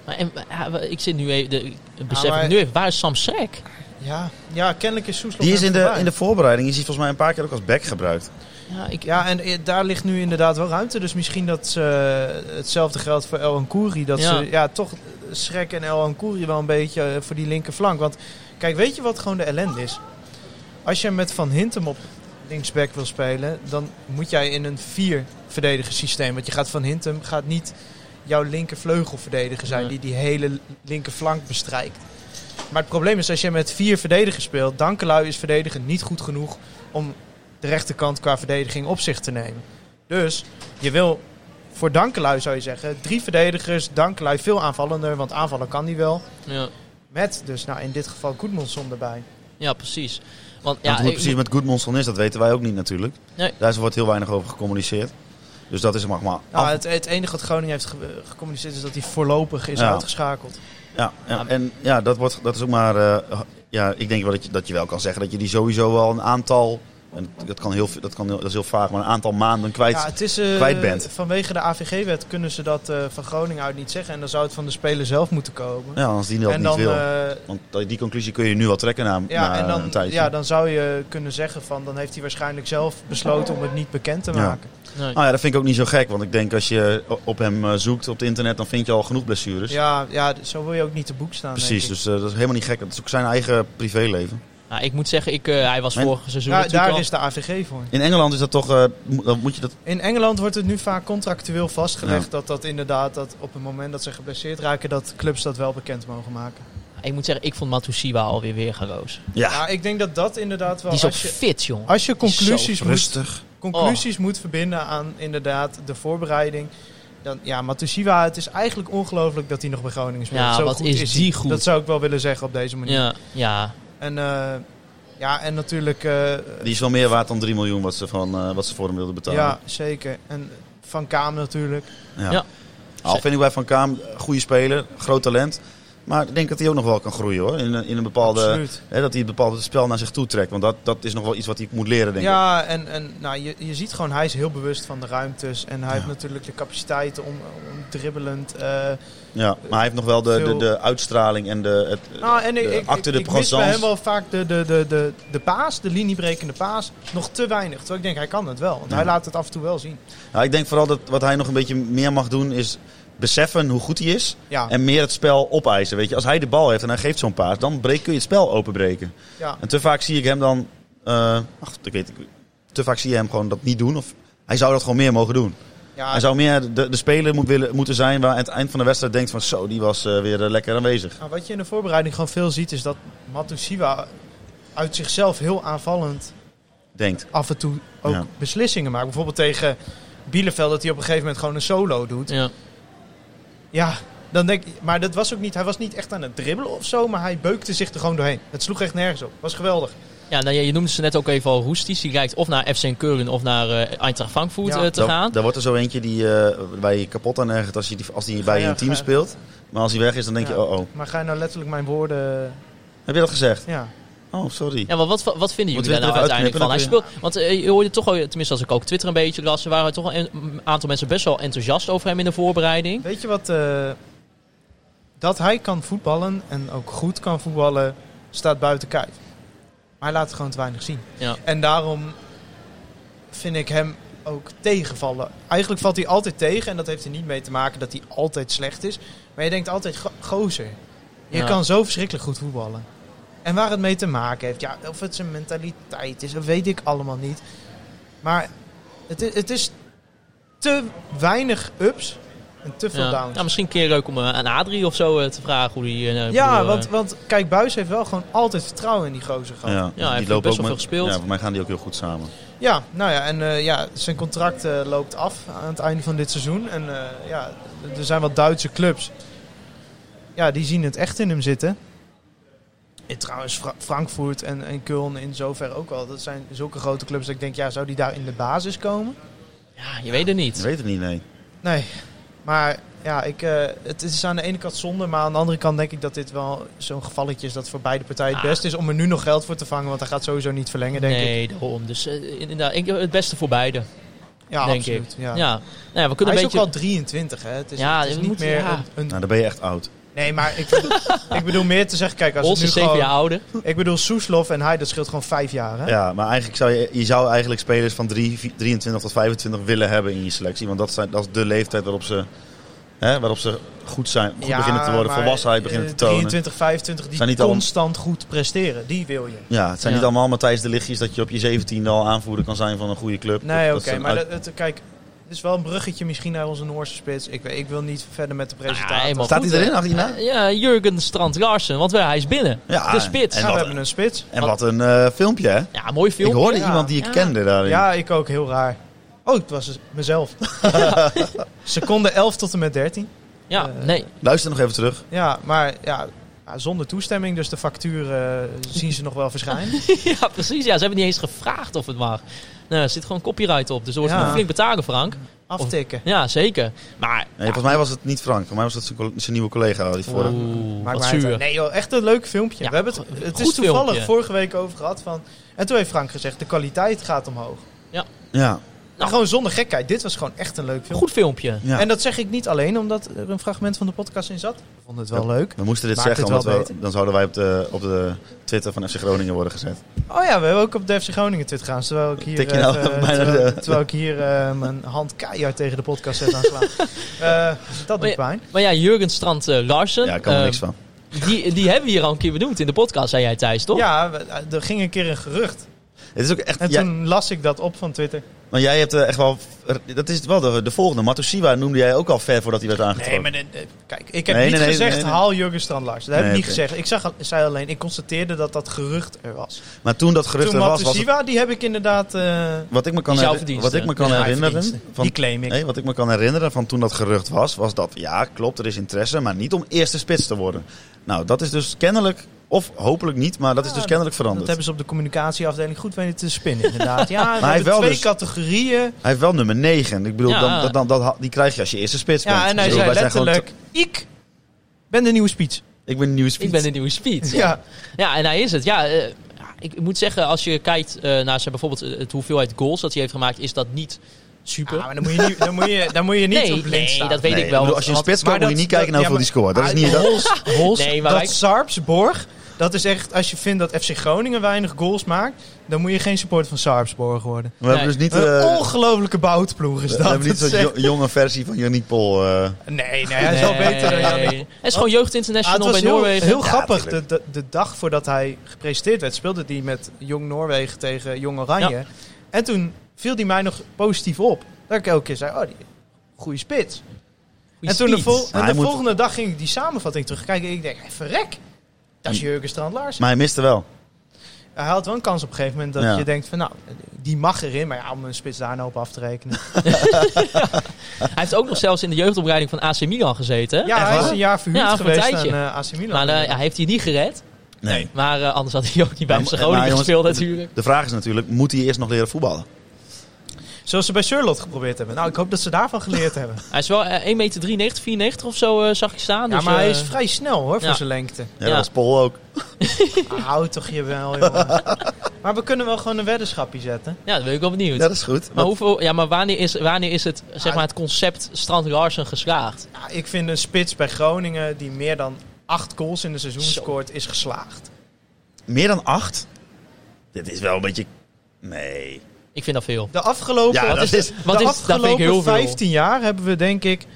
Maar en, ja, we- ik zit nu even, de, ik besef Ja, maar- het nu even, waar is Sam Schrek? Ja, ja kennelijk is Soeslof Die is hem in de, voorbij. in de voorbereiding is hij volgens mij een paar keer ook als back gebruikt. Ja, ik, Ja, en eh, daar ligt nu inderdaad wel ruimte. Dus misschien dat ze, eh, hetzelfde geldt voor El Ancoury. Dat Ja. ze ja, toch Schrek en El Ancoury wel een beetje eh, voor die linkerflank. Want kijk, weet je wat gewoon de ellende is? Als je met Van Hintem op linksback wil spelen, dan moet jij in een vier systeem. Want je gaat Van Hintem gaat niet jouw linkervleugel verdedigen zijn Nee. die die hele linkerflank bestrijkt. Maar het probleem is, als je met vier verdedigers speelt, Dankelui is verdedigen niet goed genoeg om de rechterkant qua verdediging op zich te nemen. Dus je wil voor Dankelui zou je zeggen, drie verdedigers, Dankelui veel aanvallender, want aanvallen kan hij wel. ja, Met dus nou, in dit geval Goedmondson erbij. ja, precies. Want, Ja, ja, hoe het ik- precies met Goodmonson is, dat weten wij ook niet natuurlijk. Nee. Daar wordt heel weinig over gecommuniceerd. Dus dat is hem maar. maar Nou, af- het, het enige wat Groningen heeft ge- gecommuniceerd is dat hij voorlopig is Ja. uitgeschakeld. ja, ja, en ja, dat, wordt, dat is ook maar. eh, ja, ik denk wel dat je, dat je wel kan zeggen dat je die sowieso wel een aantal. En dat, kan heel, dat, kan heel, dat is heel vaag, maar een aantal maanden kwijt. Ja, het is, eh, kwijt bent. Vanwege de AVG-wet kunnen ze dat eh, van Groningen uit niet zeggen. En dan zou het van de speler zelf moeten komen. Ja, als die dat en niet dan, wil. eh, Want dat- die conclusie kun je nu wel trekken na, ja, na en een dan, tijdje. ja, dan zou je kunnen zeggen van... dan heeft hij waarschijnlijk zelf besloten om het niet bekend te Ja. maken. nee. Nou ja, dat vind ik ook niet zo gek. Want ik denk als je op hem eh, zoekt op het internet, dan vind je al genoeg blessures. Dus- Ja, ja, d- zo wil je ook niet te boek staan. denk Precies, ik. dus eh, dat is helemaal niet gek. Dat is ook zijn eigen privéleven. Nou, ik moet zeggen, ik, eh, hij was Mijn- vorig seizoen Ja, natuurlijk daar al- is de AVG voor. In Engeland is dat toch, eh, mo- dan moet je dat... In Engeland wordt het nu vaak contractueel vastgelegd... Ja. dat dat inderdaad dat op het moment dat ze geblesseerd raken... dat clubs dat wel bekend mogen maken. Ik moet zeggen, ik vond Matsushima alweer weergaloos. Ja, Ja, ik denk dat dat inderdaad wel... Die is ook als je- fit, jong. Als je Die is Oh. zo conclusies moet, rustig. conclusies moet verbinden aan inderdaad de voorbereiding. Dan, ja, Matsushiwa, het is eigenlijk ongelooflijk dat hij nog bij Groningen speelt. Ja, Zo wat goed is die hij. goed. Dat zou ik wel willen zeggen op deze manier. Ja, ja. En, eh, ja, en natuurlijk... eh, Die is wel meer waard dan 3 miljoen wat ze, van, eh, wat ze voor hem wilden betalen. ja, zeker. En Van Kaam natuurlijk. Ja. Ja. Al vind ik bij Van Kaam, eh, goede speler, groot talent. Maar ik denk dat hij ook nog wel kan groeien hoor. In, een- in een bepaalde, Absoluut. hè, dat hij een bepaald spel naar zich toe trekt. Want dat, dat is nog wel iets wat hij moet leren, denk ik. Ja, en, en nou, je, je ziet gewoon, hij is heel bewust van de ruimtes. En hij heeft natuurlijk de capaciteit om, om dribbelend... eh, Ja, maar hij heeft nog wel de, de, Veel- de uitstraling en de, het, eh, Nou, en ik, de ik, acte ik, de ik mis bij hem présence. wel vaak de, de, de, de, de paas, de liniebrekende paas, nog te weinig. Terwijl ik denk, hij kan het wel. Want hij laat het af en toe wel zien. Ja, nou, ik denk vooral dat wat hij nog een beetje meer mag doen is beseffen hoe goed hij is. Ja, En meer het spel opeisen. Weet je, als hij de bal heeft en hij geeft zo'n paas, dan breek, kun je het spel openbreken. ja. En te vaak zie ik hem dan. eh, ach, ik weet, ik- te vaak zie je hem gewoon dat niet doen. Of hij zou dat gewoon meer mogen doen. ja Hij zou meer de, de speler moet willen, moeten zijn waar aan het eind van de wedstrijd denkt van zo, die was eh, weer eh, lekker aanwezig. nou, wat je in de voorbereiding gewoon veel ziet, is dat Matusiwa uit zichzelf heel aanvallend Denkt. af en toe ook Ja. beslissingen maakt. Bijvoorbeeld tegen Bielefeld, dat hij op een gegeven moment gewoon een solo doet. ja. Ja, dan denk ik, maar dat was ook niet, hij was niet echt aan het dribbelen of zo, maar hij beukte zich er gewoon doorheen. Het sloeg echt nergens op. Was geweldig. ja nou, je, je noemde ze net ook even al Roesties. Die lijkt of naar FC Keulen of naar eh Eintracht Frankfurt Ja. eh, te Daar- gaan. Daar wordt er zo eentje die eh, waar je kapot aan ergert als hij die, als die bij Ja, je team ja. speelt. Maar als hij weg is, dan denk je, Ja. oh oh. Maar ga je nou letterlijk mijn woorden... Heb je dat gezegd? Ja. Oh, sorry. Ja, maar wat, wat vinden jullie Moeten we daar nou het even uiteindelijk van? Hij uitknippen, speelt, want eh, je hoorde toch, al, tenminste als ik ook Twitter een beetje las, er waren toch een een aantal mensen best wel enthousiast over hem in de voorbereiding. Weet je wat? eh, dat hij kan voetballen en ook goed kan voetballen, staat buiten kijf. Maar hij laat gewoon te weinig zien. Ja. En daarom vind ik hem ook tegenvallen. Eigenlijk valt hij altijd tegen en dat heeft er niet mee te maken dat hij altijd slecht is. Maar je denkt altijd, "Go- gozer, je Ja. kan zo verschrikkelijk goed voetballen. En waar het mee te maken heeft, ja, of het zijn mentaliteit is, dat weet ik allemaal niet. Maar het is, het is te weinig ups en te veel Ja. downs. Ja, misschien een keer leuk om eh, aan Adrie of zo eh, te vragen hoe die... eh, Ja, bedoel, eh, want, want kijk, Buis heeft wel gewoon altijd vertrouwen in die gozer gehad. Ja, hij heeft best wel met- veel gespeeld. Ja, voor mij gaan die ook heel goed samen. nou ja, en eh, ja, zijn contract eh, loopt af aan het einde van dit seizoen. En eh, ja, er zijn wat Duitse clubs. Ja, die zien het echt in hem zitten. En trouwens, Fra- Frankfurt en, en Köln in zoverre ook wel. Dat zijn zulke grote clubs dat ik denk, ja, zou die daar in de basis komen? ja, je weet het niet. Ik weet het niet, nee. Nee, maar ja, ik, eh, het is aan de ene kant zonde, maar aan de andere kant denk ik dat dit wel zo'n gevalletje is dat voor beide partijen het Ah. best is om er nu nog geld voor te vangen, want hij gaat sowieso niet verlengen, denk ik. nee, daarom. Dus eh, inderdaad, ik, het beste voor beide, Ja, denk absoluut. ik. Ja. Ja. Nou ja, we kunnen hij een is ook beetje... al 23, hè? Het is, Ja, het is we niet moeten- meer ja. een- een Nou, dan ben je echt oud. Nee, maar ik, ik bedoel meer te zeggen, kijk, als Ons het nu is zeven gewoon, jaar ouder. Ik bedoel, Soeslof en hij, dat scheelt gewoon vijf jaar, hè? Ja, maar eigenlijk zou je, je zou eigenlijk spelers van drie- vi- 23 tot 25 willen hebben in je selectie. Want dat, zijn, dat is de leeftijd waarop ze, hè, waarop ze goed zijn. Goed Ja, beginnen te worden, maar, volwassenheid eh, beginnen te tonen. 23, 25, die Zijn niet allemaal- constant goed presteren, die wil je. Ja, het zijn Ja. niet allemaal Matthijs de Lichtjes dat je op je 17 al aanvoerder kan zijn van een goede club. Nee, oké, Dat- dat is een maar uit- dat, het- kijk, het is wel een bruggetje misschien naar onze Noorse spits. Ik, weet- ik wil niet verder met de presentatie. Ah, helemaal Staat Nou hij goed, erin, hè? Agina? Ja, Jurgen Strand Larsen, want hij is binnen. Ja, de spits. en we wat- hebben een spits. En wat een eh, filmpje, hè? Ja, mooi Ik film. hoorde ja. iemand die ik Ja. kende daarin. Ja, ik ook, heel raar. Oh, het was mezelf. Seconde 11 tot en met 13. Ja, Eh, nee. Luister nog even terug. Ja, maar ja, ja, zonder toestemming, dus de factuur eh, zien ze nog wel verschijnen. ja, precies. Ja, ze hebben niet eens gevraagd of het mag. Nou, er zit gewoon copyright op, dus er wordt Ja. gewoon flink betalen, Frank. Aftikken. Oh, Ja, zeker. Maar, ah, Nee, volgens mij was het niet Frank. Volgens mij was het zijn col- zijn nieuwe collega die voor hem. oeh, Maakt wat mij uit. zuur. Nee joh, echt een leuk filmpje. Ja, We hebben het het is goed toevallig filmpje. vorige week over gehad. Van, en toen heeft Frank gezegd, de kwaliteit gaat omhoog. Ja, En gewoon zonder gekheid. Dit was gewoon echt een leuk filmpje. Goed filmpje. ja. En dat zeg ik niet alleen omdat er een fragment van de podcast in zat. Ik vond het wel Ja. leuk. we moesten dit Maakt zeggen, het omdat wel we, dan zouden wij op de, op de Twitter van FC Groningen worden gezet. Oh ja, we hebben ook op de FC Groningen Twitter gaan. Terwijl ik hier, Tik je nou even- bijna terwijl, de- terwijl ik hier eh, mijn hand keihard tegen de podcast zet aan slaan. Eh, dat doet pijn. Maar Oh ja, Jurgen Strand eh, Larsen, Ja, ik kan er Ehm, eh, niks van. Die, die hebben we hier al een keer benoemd in de podcast, zei jij Thijs, toch? Ja, we- eh, er ging een keer een gerucht. Het is ook echt, En jij, toen las ik dat op van Twitter. maar jij hebt eh, echt wel... Dat is wel de, de volgende. Matusiwa noemde jij ook al ver voordat hij werd aangetrokken. Nee, maar dit- dit- kijk, ik heb Nee, niet nee, nee, gezegd nee, nee. haal Jurgen Strand Larsen. Dat heb Nee, ik niet oké. gezegd. Ik zag, zei alleen, ik constateerde dat dat gerucht er was. Maar toen dat gerucht Toen er was, was het, Matusiwa, die heb ik inderdaad... eh, wat ik me kan, Die zou herinner- verdiensten. wat ik me kan Ja, hij herinneren... verdienste. Van, die claim ik. Nee, wat ik me kan herinneren van toen dat gerucht was, was dat ja, klopt, er is interesse, maar niet om eerste spits te worden. Nou, dat is dus kennelijk, of hopelijk niet, maar dat is Ja, dus kennelijk Dat veranderd. hebben ze op de communicatieafdeling goed weten te spinnen, inderdaad. Ja, we hij hebben wel twee dus- categorieën. Hij heeft wel nummer 9. Ik bedoel, Ja. dan, dat, dan, dat, ha- die krijg je als je eerste spits bent. Ja, en hij Ik bedoel, zei wij zijn gewoon letterlijk, ik ben de nieuwe speech. te- ik ben een nieuwe spits. Ik ben de nieuwe Speed. Ja. Ja, en hij is het. Ja, eh, ja, ik moet zeggen, als je kijkt eh, naar zijn bijvoorbeeld eh, het hoeveelheid goals dat hij heeft gemaakt, is dat niet super. Ah, maar dan moet je niet, dan moet je, dan moet je niet nee, op nee, links staan. dat weet Nee, ik wel. bedoel, als je een want- spits koopt, moet je dat- niet kijken naar dat- hoeveel die scoort. Dat is niet... ja, maar- Ah, Dat, Hols, Hols, Nee, maar dat wij- Sarpsborg, dat is echt, als je vindt dat FC Groningen weinig goals maakt, dan moet je geen supporter van Sarpsborg worden. we hebben dus niet... eh, Een ongelofelijke boutploeg is we dat. hebben niet Dat zo'n is echt- jo- jonge versie van Yannick Pol. eh. Nee, nee, hij is wel Nee. beter dan Hij Jannik. is gewoon eh, Ah, het jeugdinternational was bij heel, Noorwegen. heel Ja, grappig. De, de, de dag voordat hij gepresenteerd werd, speelde hij met Jong Noorwegen tegen Jong Oranje. En toen viel hij mij nog positief op. Dat ik elke keer zei, oh, die, goede spits. Goeie en toen de, speed. vol- en hij de moet- volgende dag ging ik die samenvatting terugkijken. En ik denk, hey, verrek, dat is Jurgen Strand Larsen. maar hij miste wel. Hij had wel een kans op een gegeven moment dat Ja. je denkt van, nou, die mag erin. Maar ja, om een spits daar nou op af te rekenen. Hij heeft ook nog zelfs in de jeugdopleiding van AC Milan gezeten. hè? ja, hij is een jaar verhuurd Ja, voor een geweest aan tijdje. eh, AC Milan. Maar eh, hij heeft hier niet gered. Nee. Maar eh, anders had hij ook niet bij Maar- FC maar Groningen jongens, gespeeld natuurlijk. De vraag is natuurlijk, moet hij eerst nog leren voetballen? Zoals ze bij Charlotte geprobeerd hebben. Nou, ik hoop dat ze daarvan geleerd hebben. Hij is wel eh, 1,93 meter, 94 of zo eh, zag ik staan. Ja, dus, maar hij eh, is vrij snel hoor, voor ja. zijn lengte. Ah, Ja, Ja. dat is Pol ook. Houd toch je wel, jongen. maar we kunnen wel gewoon een weddenschapje zetten. Ja, dat ben ik wel benieuwd. Ja, dat is goed. Maar, hoeveel, ja, maar wanneer, is, wanneer is het, zeg maar, het concept Strand Larsen geslaagd? Ja, ik vind een spits bij Groningen die meer dan acht goals in een seizoen Zo. scoort, is geslaagd. Meer dan acht? Dit is wel een beetje... Nee. Ik vind dat veel. De afgelopen, Ja, dat de is... Want is, dat vind ik afgelopen heel veel. 15 jaar hebben we denk ik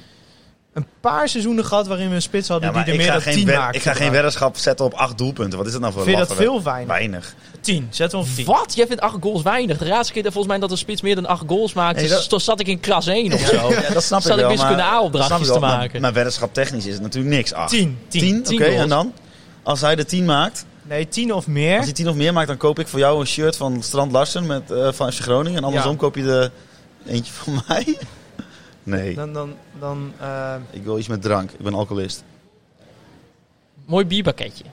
een paar seizoenen gehad waarin we een spits hadden Ja, maar die er ik meer ga, dan geen 10 wed- maakt. ik ga geen weddenschap zetten op acht doelpunten. Wat is dat nou voor Vind je dat laffe wed- veel weinig? Weinig. 10. Zetten we op 10. Wat? Jij vindt acht goals weinig. De laatste keer dat volgens mij dat een spits meer dan acht goals maakte, dus Nee, dat- toen zat ik in kras 1 of zo. Ja, dat snap Zal ik ik wel. wiskunde maar- A-opdrachtjes snap ik wel, te maar- maken? Maar weddenschap technisch is het natuurlijk niks. Acht. 10. 10. Tien? Oké, Tien goals. en dan? Als hij de 10 maakt, Nee, 10 of meer. als hij 10 of meer maakt, dan koop ik voor jou een shirt van Strand Larsen met, eh, van FC Groningen. En andersom Ja. koop je de eentje van mij. Nee, Dan, dan, dan, eh, ik wil iets met drank. Ik ben alcoholist. Mooi bierpakketje.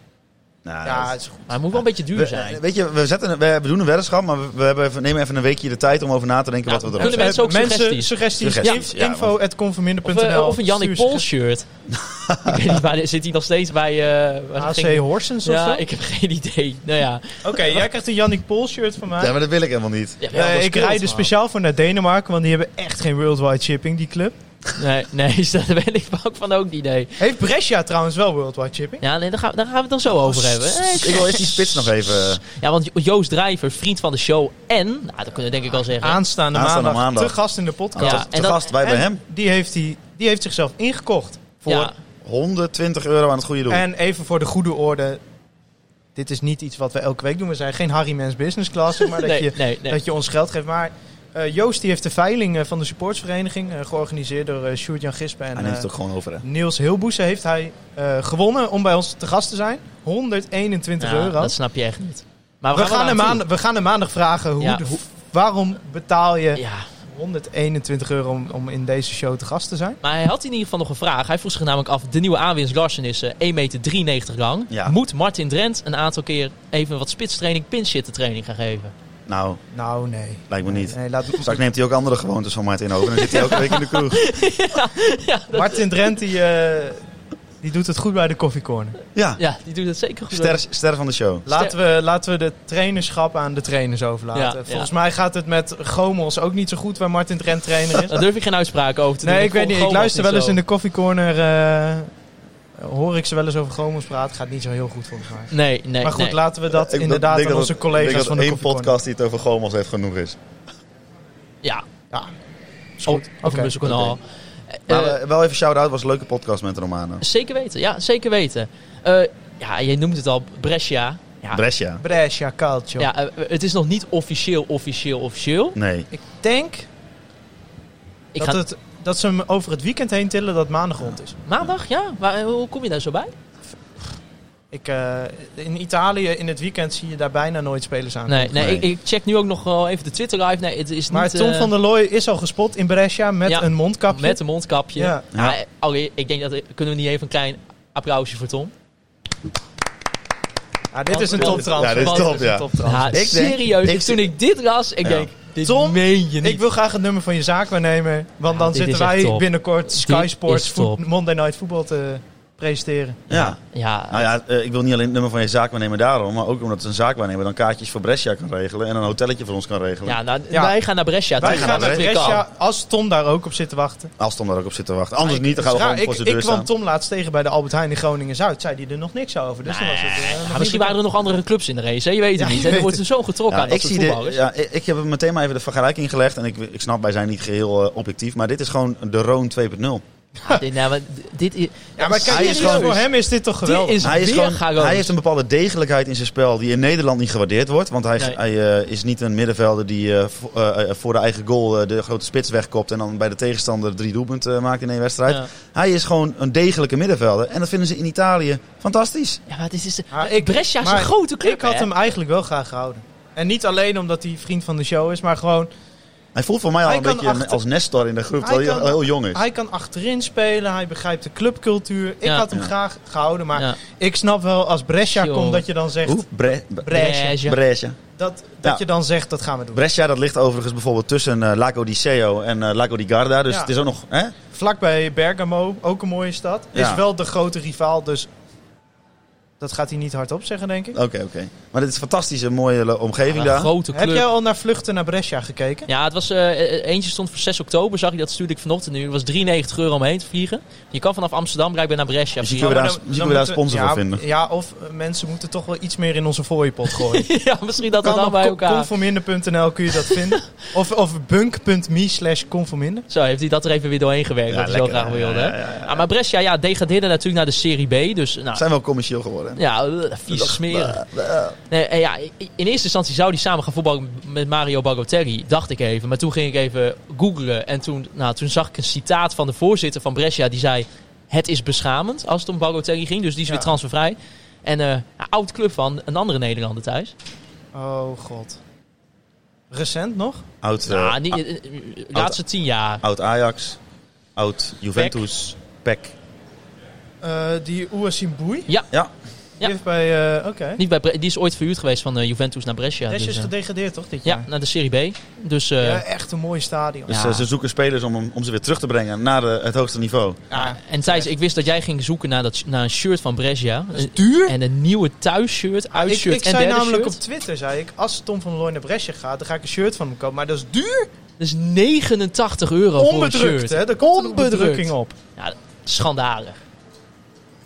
Nou, Ja, dat- het is goed. Maar het moet wel een beetje duur we- zijn. Weet je, we, zetten, we, we doen een weddenschap, maar we, we hebben even, nemen even een weekje de tijd om over na te denken Nou, wat we erop kunnen zetten. mensen ook Eh, suggesties? suggesties, Suggesties, inf- ja, info want- at conforminder.nl. Of, eh, of een Jannik Stuur Pol suggesties. shirt. ik weet niet, waar zit hij nog steeds bij... eh, waar ging- AC Horsens of Ja, zo? ik heb geen idee. Nou ja, Oké, jij krijgt een Jannik Pol shirt van mij. Ja, maar dat wil ik helemaal niet. Ja, Eh, dat ik speelt, rijd er man. speciaal voor naar Denemarken, want die hebben echt geen worldwide shipping, die club. Nee, nee, is dat ben ik ook van ook niet, nee. Heeft Brescia trouwens wel worldwide shipping? Ja, nee, daar gaan, we- daar gaan we het dan zo over hebben. Eh, Ik wil eerst die spits nog even... Ja, want Jo- Joost Drijver, vriend van de show en... Nou, dat kunnen we denk ik wel zeggen. Aanstaande, Aanstaande maandag, maandag. te gast in de podcast. Ja, Ja, en te dat- gast, wij bij En hem. Die heeft, die, die heeft zichzelf ingekocht. Voor, Ja, 120 euro aan het goede doel. En even voor de goede orde. Dit is niet iets wat we elke week doen. We zijn geen Harry Mens Business Class, zeg maar dat, nee, je, nee, nee. dat je ons geld geeft. Maar eh, Joost die heeft de veiling eh, van de supportsvereniging, eh, georganiseerd door eh Sjoerd-Jan Gispen en Hij neemt het eh, ook gewoon over, hè. Niels Hilboese heeft hij eh, gewonnen om bij ons te gast te zijn. 121 Ja, euro. dat nou, snap je echt niet. Maar We gaan, hem er maandag, we gaan hem maandag vragen, hoe Ja. de f- waarom betaal je Ja, 121 euro om, om in deze show te gast te zijn? maar hij had in ieder geval nog een vraag. Hij vroeg zich namelijk af, de nieuwe aanwinst Larsen is eh, 1,93 meter lang. Ja. Moet Martin Drent een aantal keer even wat spitstraining, pinch training gaan geven? Nou, Nou, nee. lijkt me niet. nee laat, Straks neemt hij ook andere gewoontes van Martin over. En dan zit hij elke week in de kroeg. Martin Drent die, eh, die doet het goed bij de koffiecorner. Ja, Ja, die doet dat zeker goed. ster, ster van de show. Laten we, laten we de trainerschap aan de trainers overlaten. Ja, Volgens ja. mij gaat het met Gomels ook niet zo goed waar Martin Drent trainer is. Daar durf ik geen uitspraken over te doen. nee, ik weet volg niet. Ik Gomez luister wel eens zo. in de koffiecorner. eh hoor ik ze wel eens over Gomels praten. Gaat niet zo heel goed volgens mij. Nee, nee, maar goed, nee. laten we dat Ik inderdaad denk aan dat onze het- ik denk collega's dat van de één koffiecorner. podcast die het over Gomos heeft genoeg is. Ja, Ja, is Oh, goed. over Oké. Musselkanaal. Maar Eh, eh, wel even shout-out, was een leuke podcast met Romano. zeker weten, ja, zeker weten. Eh, ja, je noemt het al, Brescia. Ja, Brescia? Brescia Calcio. ja eh, het is nog niet officieel, officieel, officieel. Nee. Ik denk Ik dat, ga het, dat ze hem over het weekend heen tillen dat maandag rond is. maandag, ja? Waar, hoe kom je daar zo bij? Ik, eh, in Italië in het weekend zie je daar bijna nooit spelers aan. Nee, nee, Nee. Ik, ik check nu ook nog wel even de Twitter live. Nee, het is Maar niet... Tom eh, van der Looy is al gespot in Brescia met Ja, een mondkapje. Met een mondkapje. Ja. Maar, eh, allee, ik denk dat... Kunnen we niet even een klein applausje voor Tom? Ah, dit is een toptrans. Ja, dit is Want- top, ja. Ja, denk- serieus. ik- ik- toen ik dit las, ik Ja. denk... Dit Tom, meen je niet. Ik wil graag het nummer van je zaakwaarnemer. Want Ja, dan dit zitten is echt wij top. binnenkort Sky Dit Sports is top. voet- Monday Night Voetbal te presenteren. Ja. Ja, Nou ja, eh, ik wil niet alleen het nummer van je zaakwaarnemer daarom, maar ook omdat het een zaakwaarnemer dan kaartjes voor Brescia kan regelen en een hotelletje voor ons kan regelen. ja, nou, Ja. wij gaan naar Brescia. Wij toe, gaan naar dat weer kan. Brescia als Tom daar ook op zit te wachten. Dus Als Tom daar ook op zit te wachten. Anders niet, dan gaan we Raar, gewoon voor ik, zijn deur ik kwam staan. Tom laatst tegen bij de Albert Heijn in Groningen-Zuid. Zei hij er nog niks over. Dus dan was het, eh, nog Ja, misschien niet bekend. waren er nog andere clubs in de race, hè? je weet het Ja, niet. je En er weet wordt er zo getrokken Ja, aan dat ik, soort zie dit- voetballers. ja, ik, ik heb er meteen maar even de vergelijking gelegd. En ik, ik snap, wij zijn niet geheel eh, objectief. Maar dit is gewoon de Roon 2.0. Ja, dit, nou, maar dit is, Ja, maar kijk, Hij dit is is gewoon- voor hem is dit toch geweldig. Dit is Hij, is weer gewoon, Garoos. hij heeft een bepaalde degelijkheid in zijn spel die in Nederland niet gewaardeerd wordt. Want hij, Nee. hij eh, is niet een middenvelder die eh, vo- eh, eh, voor de eigen goal eh, de grote spits wegkopt. En dan bij de tegenstander drie doelpunten eh, maakt in één wedstrijd. Ja. Hij is gewoon een degelijke middenvelder. En dat vinden ze in Italië fantastisch. ja, maar dit is, Maar ik, Brescia is een Ah, maar grote club, Ik had hè? hem eigenlijk wel graag gehouden. En niet alleen omdat hij vriend van de show is, maar gewoon... Hij voelt voor mij al Hij een kan beetje een- achter- als Nestor in de groep, Hij terwijl hij kan- al heel jong is. Hij kan achterin spelen, hij begrijpt de clubcultuur. Ik Ja. had hem Ja. graag gehouden, maar Ja. ik snap wel als Brescia Joh. komt dat je dan zegt... Hoe? Bre- Bre- Brescia. Brescia. Brescia. Dat, dat Ja. je dan zegt, dat gaan we doen. Brescia, dat ligt overigens bijvoorbeeld tussen eh, Lago di Seo en eh, Lago di Garda. Dus Ja. het is ook nog... Hè? Vlak bij Bergamo, ook een mooie stad. Ja. Is wel de grote rivaal, dus... Dat gaat hij niet hardop zeggen, denk ik. Oké, oké. Maar dit is een fantastische, mooie eh, omgeving Een daar. grote Heb club. jij al naar vluchten naar Brescia gekeken? Ja, het was, eh, eh, eentje stond voor 6 oktober, zag ik, dat stuurde ik vanochtend nu. Het was 93 euro om heen te vliegen. Je kan vanaf Amsterdam blijkbaar naar Brescia Dus je vliegen. kunt- maar daar- dan- zien dan we daar moeten- sponsor ja, voor vinden? Ja, of eh, mensen moeten toch wel iets meer in onze fooiepot gooien. ja, misschien dat dat kan dan op bij co- elkaar... conforminder.nl kun je dat vinden. of of bunk.me slash conforminder. Zo, heeft hij dat er even weer doorheen gewerkt, Ja, wat hij zo lekker, graag hè? wilde, hè? Ja, ja, ja, ja. Ah, maar Brescia, ja, degradeerde natuurlijk naar de Serie B, dus... Nou, Zijn wel commercieel geworden. hè? Ja, eh, vies smerig. Nee, eh, ja, i- in eerste instantie zou die samen gaan voetballen met Mario Bagotelli, dacht ik even. Maar toen ging ik even googlen en toen, nou, toen zag ik een citaat van de voorzitter van Brescia. Die zei, het is beschamend als het om Bagotelli ging. Dus die is Ja. weer transfervrij. En eh, een oud club van een andere Nederlander thuis. Oh god. Recent nog? Oud, eh, Ja, Ah. niet, eh, eh, laatste tien jaar. Oud Ajax, oud Juventus, PEC. Eh, die Ouassim Boui. Ja. Ja. Die heeft bij... eh, Oké. Niet bij Bre- die is ooit verhuurd geweest van eh, Juventus naar Brescia. Desje dus, is eh, gedegradeerd, toch, dit ja, jaar? naar de Serie B. Dus eh, Ja, echt een mooi stadion. Dus Ja. eh, ze zoeken spelers om, hem- om ze weer terug te brengen naar de- het hoogste niveau. ja, en Thijs, ik wist dat jij ging zoeken naar, dat, naar een shirt van Brescia. Dat is duur. En een nieuwe thuisshirt, Ik, uitshirt ik en zei derde namelijk shirt. op Twitter, zei ik, als Tom van Looy naar Brescia gaat, dan ga ik een shirt van hem kopen. Maar dat is duur. Dat is 89 euro voor een Onbedrukt, shirt. hè? Daar komt een Onbedrukt. bedrukking op. Ja, schandalig.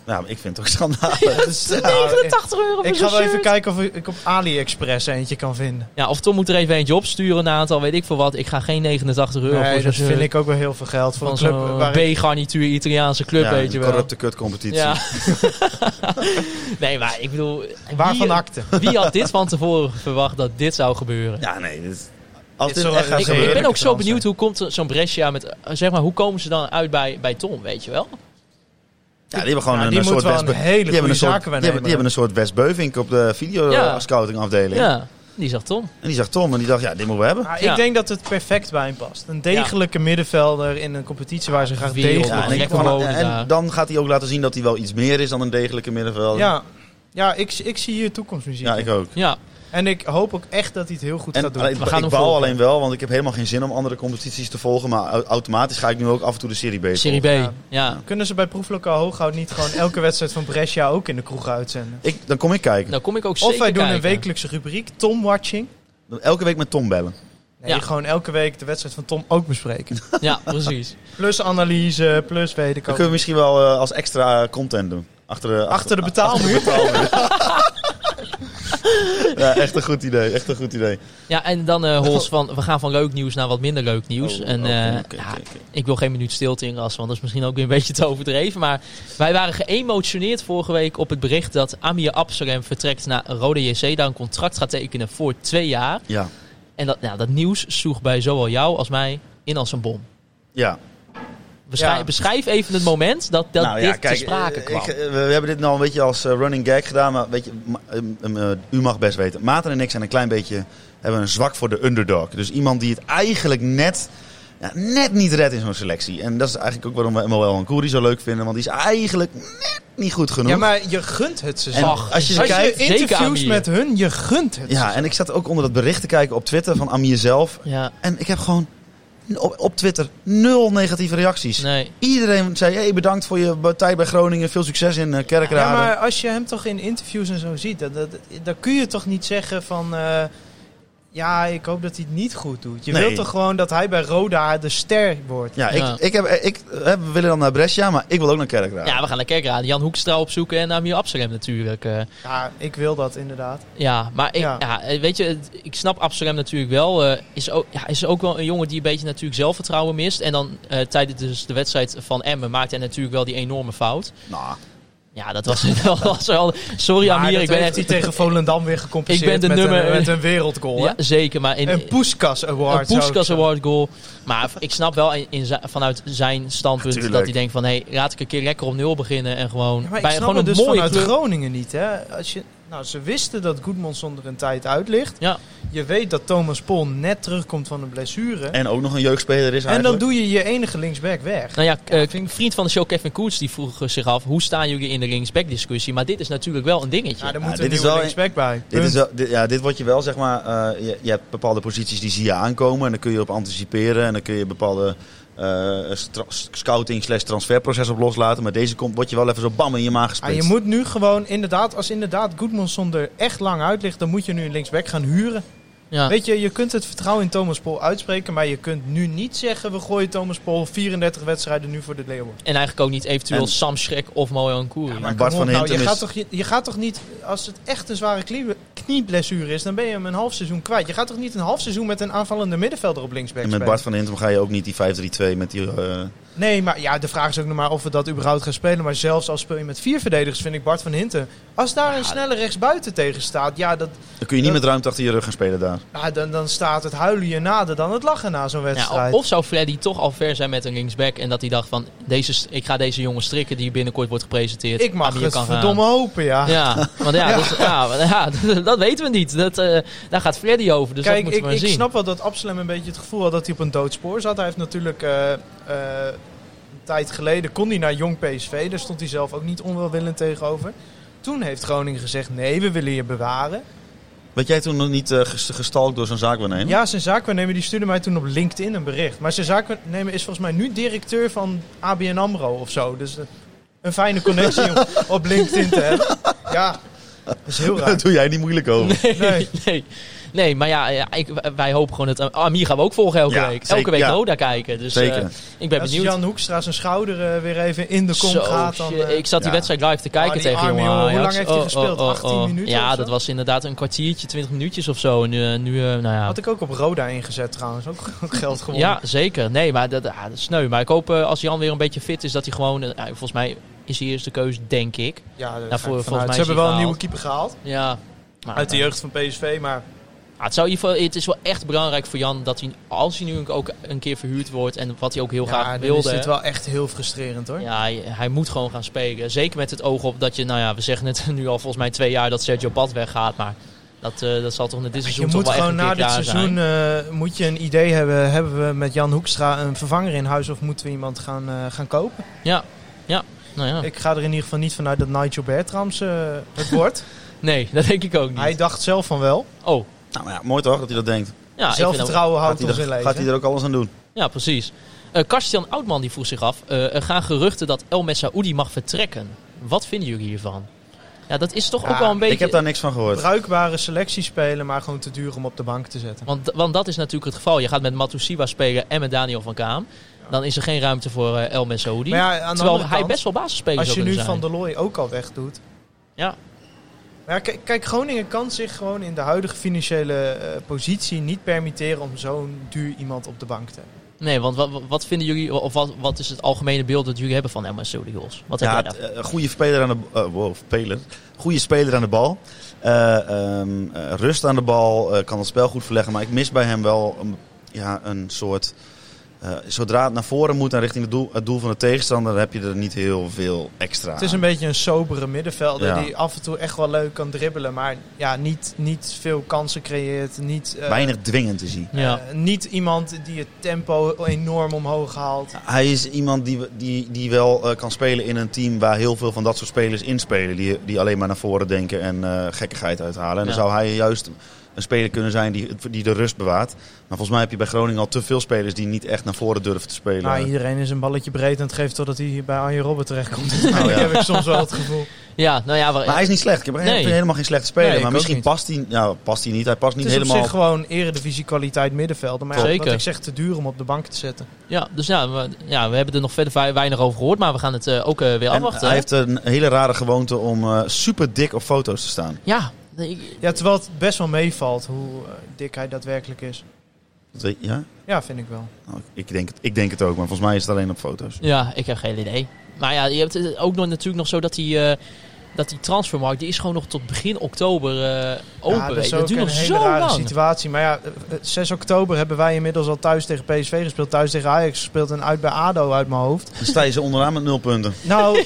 Nou, ik vind het ook schandalig. Dat is, ja, ik- 89 euro voor ik ga zo'n wel even shirt. kijken of ik op AliExpress eentje kan vinden. Ja, of Tom moet er even eentje opsturen, een aantal, weet ik veel wat. Ik ga geen 89 euro voor Nee, zo'n dat eh, shirt. vind ik ook wel heel veel geld voor een van club zo'n waar ik- B-garnituur Italiaanse club, Ja, weet je een wel. corrupte kutcompetitie. Ja. nee, maar ik bedoel... waarvan wie, akte. wie had dit van tevoren verwacht dat dit zou gebeuren? Ja, nee. dit- als Dit dit zou- echt gaat ik, ik ben gebeuren... ook zo kans, benieuwd hoe komt zo'n Brescia met... eh, Zeg maar, hoe komen ze dan uit bij, bij Tom, weet je wel? Ja, die hebben gewoon Ja, een, die een soort moet wel een West- hele die hebben goede een soort, die zakenwaarnemer hebben, die hebben een soort West Beuvink op de video Ja. eh, scouting afdeling. Ja, die zag Tom. En die zag Tom en die dacht, ja, dit moeten we hebben. Maar Ja. Ik denk dat het perfect bij hem past. Een degelijke middenvelder in een competitie waar ze graag Wereld- degelijk... Ja, en, ik- lekker wonen en daar. dan gaat hij ook laten zien dat hij wel iets meer is dan een degelijke middenvelder. Ja, ja ik, ik zie hier toekomstmuziek. ja ik ook. Ja, En ik hoop ook echt dat hij het heel goed En gaat doen. alleen, We gaan ik hem bouw volgen. alleen wel, want ik heb helemaal geen zin om andere competities te volgen. Maar au- automatisch ga ik nu ook af en toe de Serie B Serie B. volgen. Ja. Kunnen ze bij Proeflokaal Hooghout niet gewoon elke wedstrijd van Brescia ook in de kroeg uitzenden? Ik, dan kom ik kijken. Nou kom ik ook zeker Of wij doen een kijken. wekelijkse rubriek, Tom Watching. Dan Elke week met Tom bellen. Nee, Ja. gewoon elke week de wedstrijd van Tom ook bespreken. Ja, precies. plus analyse, plus weet ik Dat ook. kunnen we misschien wel eh, als extra eh, content doen. Achter de, Achter de betaalmuur. Ja, echt een goed idee. Echt een goed idee. Ja, en dan eh Hols van, we gaan van leuk nieuws naar wat minder leuk nieuws. Oh, en oké, eh, oké, ja, oké, oké. ik wil geen minuut stilte inrassen, want dat is misschien ook weer een beetje te overdreven. Maar wij waren geëmotioneerd vorige week op het bericht dat Amir Absalem vertrekt naar Rode JC. Daar een contract gaat tekenen voor twee jaar. Ja. En dat, nou, dat nieuws sloeg bij zowel jou als mij in als een bom. ja. Beschrijf, Ja. beschrijf even het moment dat, dat dit te sprake eh, kwam. ik, eh, we, we hebben dit nou een beetje als eh, running gag gedaan, maar weet je, ma- em, em, eh, u mag best weten. Maarten en ik zijn een klein beetje, hebben een zwak voor de underdog. Dus iemand die het eigenlijk net, ja, net niet redt in zo'n selectie. En dat is eigenlijk ook waarom we Emmanuel Ancuri zo leuk vinden, want die is eigenlijk net niet goed genoeg. Ja, maar je gunt het ze en zo. Ach, als je Als je kijkt... zeker aan interviews hier. met hun, je gunt het Ja, en ik zat ook onder dat bericht te kijken op Twitter van Amir zelf. ja, En ik heb gewoon op, op Twitter nul negatieve reacties. nee. Iedereen zei, hey, bedankt voor je partij bij Groningen. Veel succes in eh, Ja, Kerkrade. maar als je hem toch in interviews en zo ziet, dan, dan, dan kun je toch niet zeggen van... eh, ja, ik hoop dat hij het niet goed doet. Je Nee. wilt toch gewoon dat hij bij Roda de ster wordt. Ja, Ja. Ik, ik heb, ik, eh, we willen dan naar Brescia, maar ik wil ook naar Kerkraad. Ja, we gaan naar Kerkraden. Jan Hoekstra opzoeken en Amir Absalem natuurlijk. eh. Ja, ik wil dat inderdaad. Ja, maar ik, ja. Ja. eh, weet je, het- ik snap Amsterdam natuurlijk wel. eh, is, ook, ja, is ook wel een jongen die een beetje natuurlijk zelfvertrouwen mist. En dan eh, tijdens dus de wedstrijd van Emmen maakt hij natuurlijk wel die enorme fout. Nou, Ja, dat was, dat was wel... Sorry maar Amir, dat ik ben heeft hij echt... tegen Volendam weer gecompenseerd Ik ben de met, nummer- een, met een wereldgoal. Ja, hè? zeker, maar in, Een Poeskas Award. een zou ik Poeskas zeggen. Award goal. Maar ik snap wel in, in zi- vanuit zijn standpunt Tuurlijk. dat hij denkt van... Hé, hey, laat ik een keer lekker op nul beginnen en gewoon... Ja, maar ik bij snap gewoon een het dus mooie vanuit club. Groningen niet. Hè? Als je, nou, ze wisten dat Goedmondson er een tijd uit ligt. Ja. Je weet dat Thomas Pol net terugkomt van een blessure. En, en ook nog een jeugdspeler is eigenlijk. dan doe je je enige linksback weg. Nou ja, eh, vriend van de show Kevin Koets die vroeg zich af... Hoe staan jullie in de linksback discussie? Maar dit is natuurlijk wel een dingetje. Ja, daar Ja, moet dit een is nieuwe wel- linksback bij. Dit, is Punt. wel, dit, ja, dit wordt je wel, zeg maar, eh, je, je hebt bepaalde posities die zie je aankomen en dan kun je op anticiperen en dan kun je bepaalde eh, stra- scouting slash transferproces op loslaten. Maar deze komt, wordt je wel even zo bam in je maag Ah, gespeeld. je moet nu gewoon, inderdaad, als inderdaad Goedmondson er echt lang uit ligt, dan moet je nu een linksback gaan huren. Ja. Weet je, je kunt het vertrouwen in Thomas Pol uitspreken, maar je kunt nu niet zeggen, we gooien Thomas Pol 34 wedstrijden nu voor de Leeuwen. En eigenlijk ook niet eventueel En- Sam Schrek of Mojo Koer. maar Bart Kom op, van nou, je, Hintem gaat is... toch, je, je gaat toch niet, als het echt een zware knie- knieblessure is, dan ben je hem een half seizoen kwijt. Je gaat toch niet een half seizoen met een aanvallende middenvelder op linksback En met spelen? Bart van Hintem ga je ook niet die 5-3-2 met die... eh, Nee, maar ja, de vraag is ook nog maar of we dat überhaupt gaan spelen. Maar zelfs als speel je met vier verdedigers, vind ik Bart van Hinten. Als daar een snelle rechtsbuiten tegen staat, ja, dat, dan kun je niet met ruimte achter je rug gaan spelen daar. ja, dan, dan staat het huilen je nader dan het lachen na zo'n Ja, wedstrijd. of zou Freddy toch al ver zijn met een linksback en dat hij dacht van, deze, st- ik ga deze jongen strikken die binnenkort wordt gepresenteerd. ik mag Amir het kan gaan. verdomme hopen, ja. Ja, want ja, Dat, ja, want ja, dat weten we niet. Dat, eh, daar gaat Freddy over, dus dat Kijk, moeten ik, we maar ik zien. snap wel dat Absalem een beetje het gevoel had dat hij op een doodspoor zat. Hij heeft natuurlijk eh, eh, een tijd geleden kon hij naar jong PSV. Daar stond hij zelf ook niet onwelwillend tegenover. Toen heeft Groningen gezegd, nee, we willen je bewaren. Werd jij toen nog niet eh, ges- gestalkt door zo'n zaakwaarnemer? Ja, zijn zaakwaarnemer die stuurde mij toen op LinkedIn een bericht. Maar zijn zaakwaarnemer is volgens mij nu directeur van ABN AMRO of zo. Dus eh, een fijne connectie om op LinkedIn te hebben. Ja, dat is heel raar. Daar doe jij niet moeilijk over. Nee, nee. Nee. nee. maar ja, ja, ik, wij hopen gewoon dat... eh, Amir gaan we ook volgen elke Ja, week. elke zeker, week ja. Roda kijken. Dus eh, Zeker. ik ben Als benieuwd. Jan Hoekstra zijn schouder eh, weer even in de kom Zo, gaat, dan... shit. eh, Oh, ik zat die ja. wedstrijd live te kijken die tegen arme jongen. jongen, hoe Ajax. Oh, lang heeft hij gespeeld? 18 minuten Ja, of zo? dat was inderdaad een kwartiertje, 20 minuutjes of zo. En nu, eh, nu eh, nou ja. Had ik ook op Roda ingezet trouwens. Ook, ook geld gewonnen. Ja, zeker. Nee, maar dat, ah, dat is sneu. Maar ik hoop eh, als Jan weer een beetje fit is, dat hij gewoon... eh, nou, volgens mij is hij eerste keus, denk ik. Ja, voor- daar ga ik vanuit. volgens mij is Ze hebben hij wel een nieuwe gehaald. keeper gehaald. Ja. Maar, Uit de eh, jeugd van PSV, maar ah, het, zou in ieder geval, het is wel echt belangrijk voor Jan dat hij, als hij nu ook een keer verhuurd wordt... en wat hij ook heel ja, graag dan wilde... is hè. dit wel echt heel frustrerend hoor. Ja, hij, hij moet gewoon gaan spelen. Zeker met het oog op dat je, nou ja, we zeggen het nu al volgens mij twee jaar dat Sergio Bad weggaat. Maar dat, eh, dat zal toch in dit Je seizoen toch moet wel echt gewoon een keer na klaar dit seizoen zijn. eh, moet je een idee hebben. Hebben we met Jan Hoekstra een vervanger in huis of moeten we iemand gaan, eh, gaan kopen? Ja, ja. Nou ja. Ik ga er in ieder geval niet vanuit dat Nigel Bertrams eh, het wordt. nee, dat denk ik ook niet. Hij dacht zelf van wel. oh, Nou maar ja, mooi toch dat hij dat denkt. ja, ik vind ook- Zelfvertrouwen Gaat houdt hij, ons in er, gaat hij leven. er ook alles aan doen? ja, precies. Eh Karstian Oudman die vroeg zich af, eh, er gaan geruchten dat El Messaoudi mag vertrekken. Wat vinden jullie hiervan? Ja, dat is toch Ja, ook wel een beetje... Ik heb daar niks van gehoord. Bruikbare selectie spelen, maar gewoon te duur om op de bank te zetten. Want, want dat is natuurlijk het geval. Je gaat met Matusiwa spelen en met Daniel van Kaam. Dan is er geen ruimte voor eh, El Messaoudi. Maar ja, aan de terwijl andere hij kant, best wel basisspeler als zou je nu kunnen zijn. Van der Looy ook al wegdoet. Ja. Maar ja, kijk, kijk, Groningen kan zich gewoon in de huidige financiële eh, positie niet permitteren om zo'n duur iemand op de bank te hebben. Nee, want wat, wat vinden jullie, of wat, wat is het algemene beeld dat jullie hebben van Emma Studios? Wat Ja, heb jij het, daarvan? eh, een goede speler aan de eh, wow, speler. Goede speler aan de bal. Eh, ehm, eh, rust aan de bal. eh, kan het spel goed verleggen. Maar ik mis bij hem wel een, ja, een soort. eh, zodra het naar voren moet en richting het doel, het doel van de tegenstander, heb je er niet heel veel extra. Het is aan. een beetje een sobere middenvelder Ja. die af en toe echt wel leuk kan dribbelen, maar ja, niet, niet veel kansen creëert. Niet, eh, Weinig dwingend te zien. eh, Ja. niet iemand die het tempo enorm omhoog haalt. Hij is iemand die, we- die, die wel eh, kan spelen in een team waar heel veel van dat soort spelers inspelen. Die, die alleen maar naar voren denken en eh, gekkigheid uithalen. En dan Ja. zou hij juist een speler kunnen zijn die, die de rust bewaart. Maar volgens mij heb je bij Groningen al te veel spelers die niet echt naar voren durven te spelen. Nou, iedereen is een balletje breed en het geeft totdat hij hier bij Arjen Robben terechtkomt. Nou ja. Dat heb ik soms wel het gevoel. ja, nou ja, waar- maar hij is niet slecht. Ik heb Nee. helemaal geen slechte speler. Nee, ik maar ook misschien niet. past hij, nou, past hij niet. Hij past niet Het is op helemaal. zich gewoon eredivisie kwaliteit middenvelder, maar ja, Zeker. wat ik zeg, te duur om op de bank te zetten. ja, dus ja we, ja, we hebben er nog verder vei- weinig over gehoord, maar we gaan het eh, ook eh, weer En afwachten. hij heeft een hele rare gewoonte om eh, super dik op foto's te staan. Ja, nee, ik- Ja, terwijl het best wel meevalt hoe eh, dik hij daadwerkelijk is. Dat weet- Ja? Ja, vind ik wel. Nou, ik, denk het, ik denk het ook, maar volgens mij is het alleen op foto's. ja, ik heb geen idee. Maar ja, je hebt het ook nog, natuurlijk nog zo dat die, eh, dat die transfermarkt, die is gewoon nog tot begin oktober eh, open. ja, weet is je. dat ook duurt een nog hele zo rare lang. situatie. Maar ja, eh, eh, 6 oktober hebben wij inmiddels al thuis tegen PSV gespeeld, thuis tegen Ajax gespeeld en uit bij ADO uit mijn hoofd. Dan sta je ze onderaan met nul punten. Nou,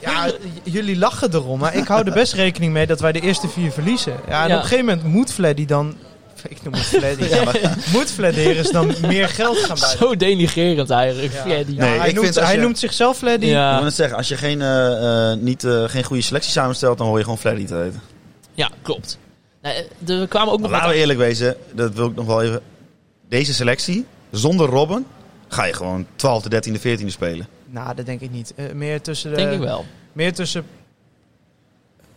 ja, j- jullie lachen erom, maar ik hou er best rekening mee dat wij de eerste vier verliezen. Ja, en Ja. op een gegeven moment moet Fleddy dan... Ik noem het Fleddy. ja, maar moet Flederis dan meer geld gaan bij. Zo denigerend eigenlijk. Ja. Freddy. Ja, Nee, ik hij, vind noemt, als hij je- noemt zichzelf Fleddy. Ik Ja. moet het zeggen, als je geen, eh, eh, niet, eh, geen goede selectie samenstelt, dan hoor je gewoon Freddy te heten. ja, klopt. Nou, eh, er kwamen ook nog wat Laten we eerlijk wezen, dat wil ik nog wel even. Deze selectie, zonder Robben, ga je gewoon 12e, 13e, 14e spelen. Nou, dat denk ik niet. Eh, meer tussen de... Denk ik wel. Meer tussen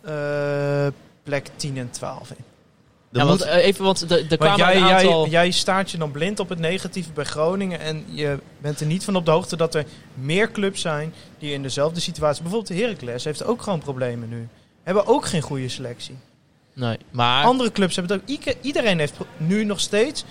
eh, plek 10 en 12. in. Er Ja, moet- want, eh, even, want er er kwamen Want jij, een aantal... jij, jij staat je dan blind op het negatieve bij Groningen. En je bent er niet van op de hoogte dat er meer clubs zijn die in dezelfde situatie. Bijvoorbeeld Heracles heeft ook gewoon problemen nu. Hebben ook geen goede selectie. Nee, maar... Andere clubs hebben het ook. Ieke- Iedereen heeft pro- nu nog steeds.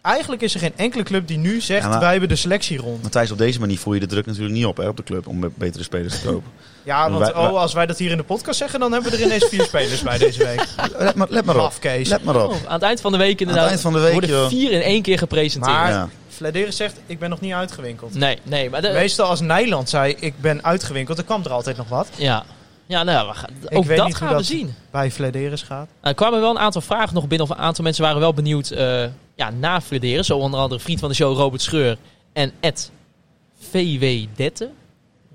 Eigenlijk is er geen enkele club die nu zegt: Ja, maar- wij hebben de selectie rond. maar Thijs, op deze manier voel je de druk natuurlijk niet op hè, op de club om betere spelers te kopen. Ja, want Wij- wij- oh, als wij dat hier in de podcast zeggen, dan hebben we er ineens vier spelers bij deze week. let, maar, let maar op. Af, Kees. Let maar op. Oh, aan het eind van de week inderdaad. Aan het eind van de week, worden joh. vier in één keer gepresenteerd. Maar- Ja. Fladeris zegt: ik ben nog niet uitgewinkeld. Nee, nee, maar de- Meestal als Nijland zei ik ben uitgewinkeld, dan kwam er altijd nog wat. ja. Ja, nou, ja, we gaan- Ik ook weet dat niet hoe gaan we dat- zien. Bij Flederis gaat. Nou, er kwamen wel een aantal vragen nog binnen. Of een aantal mensen waren wel benieuwd eh, ja, na Flederen. Zo onder andere vriend van de show Robert Scheur en Ed VW Dette.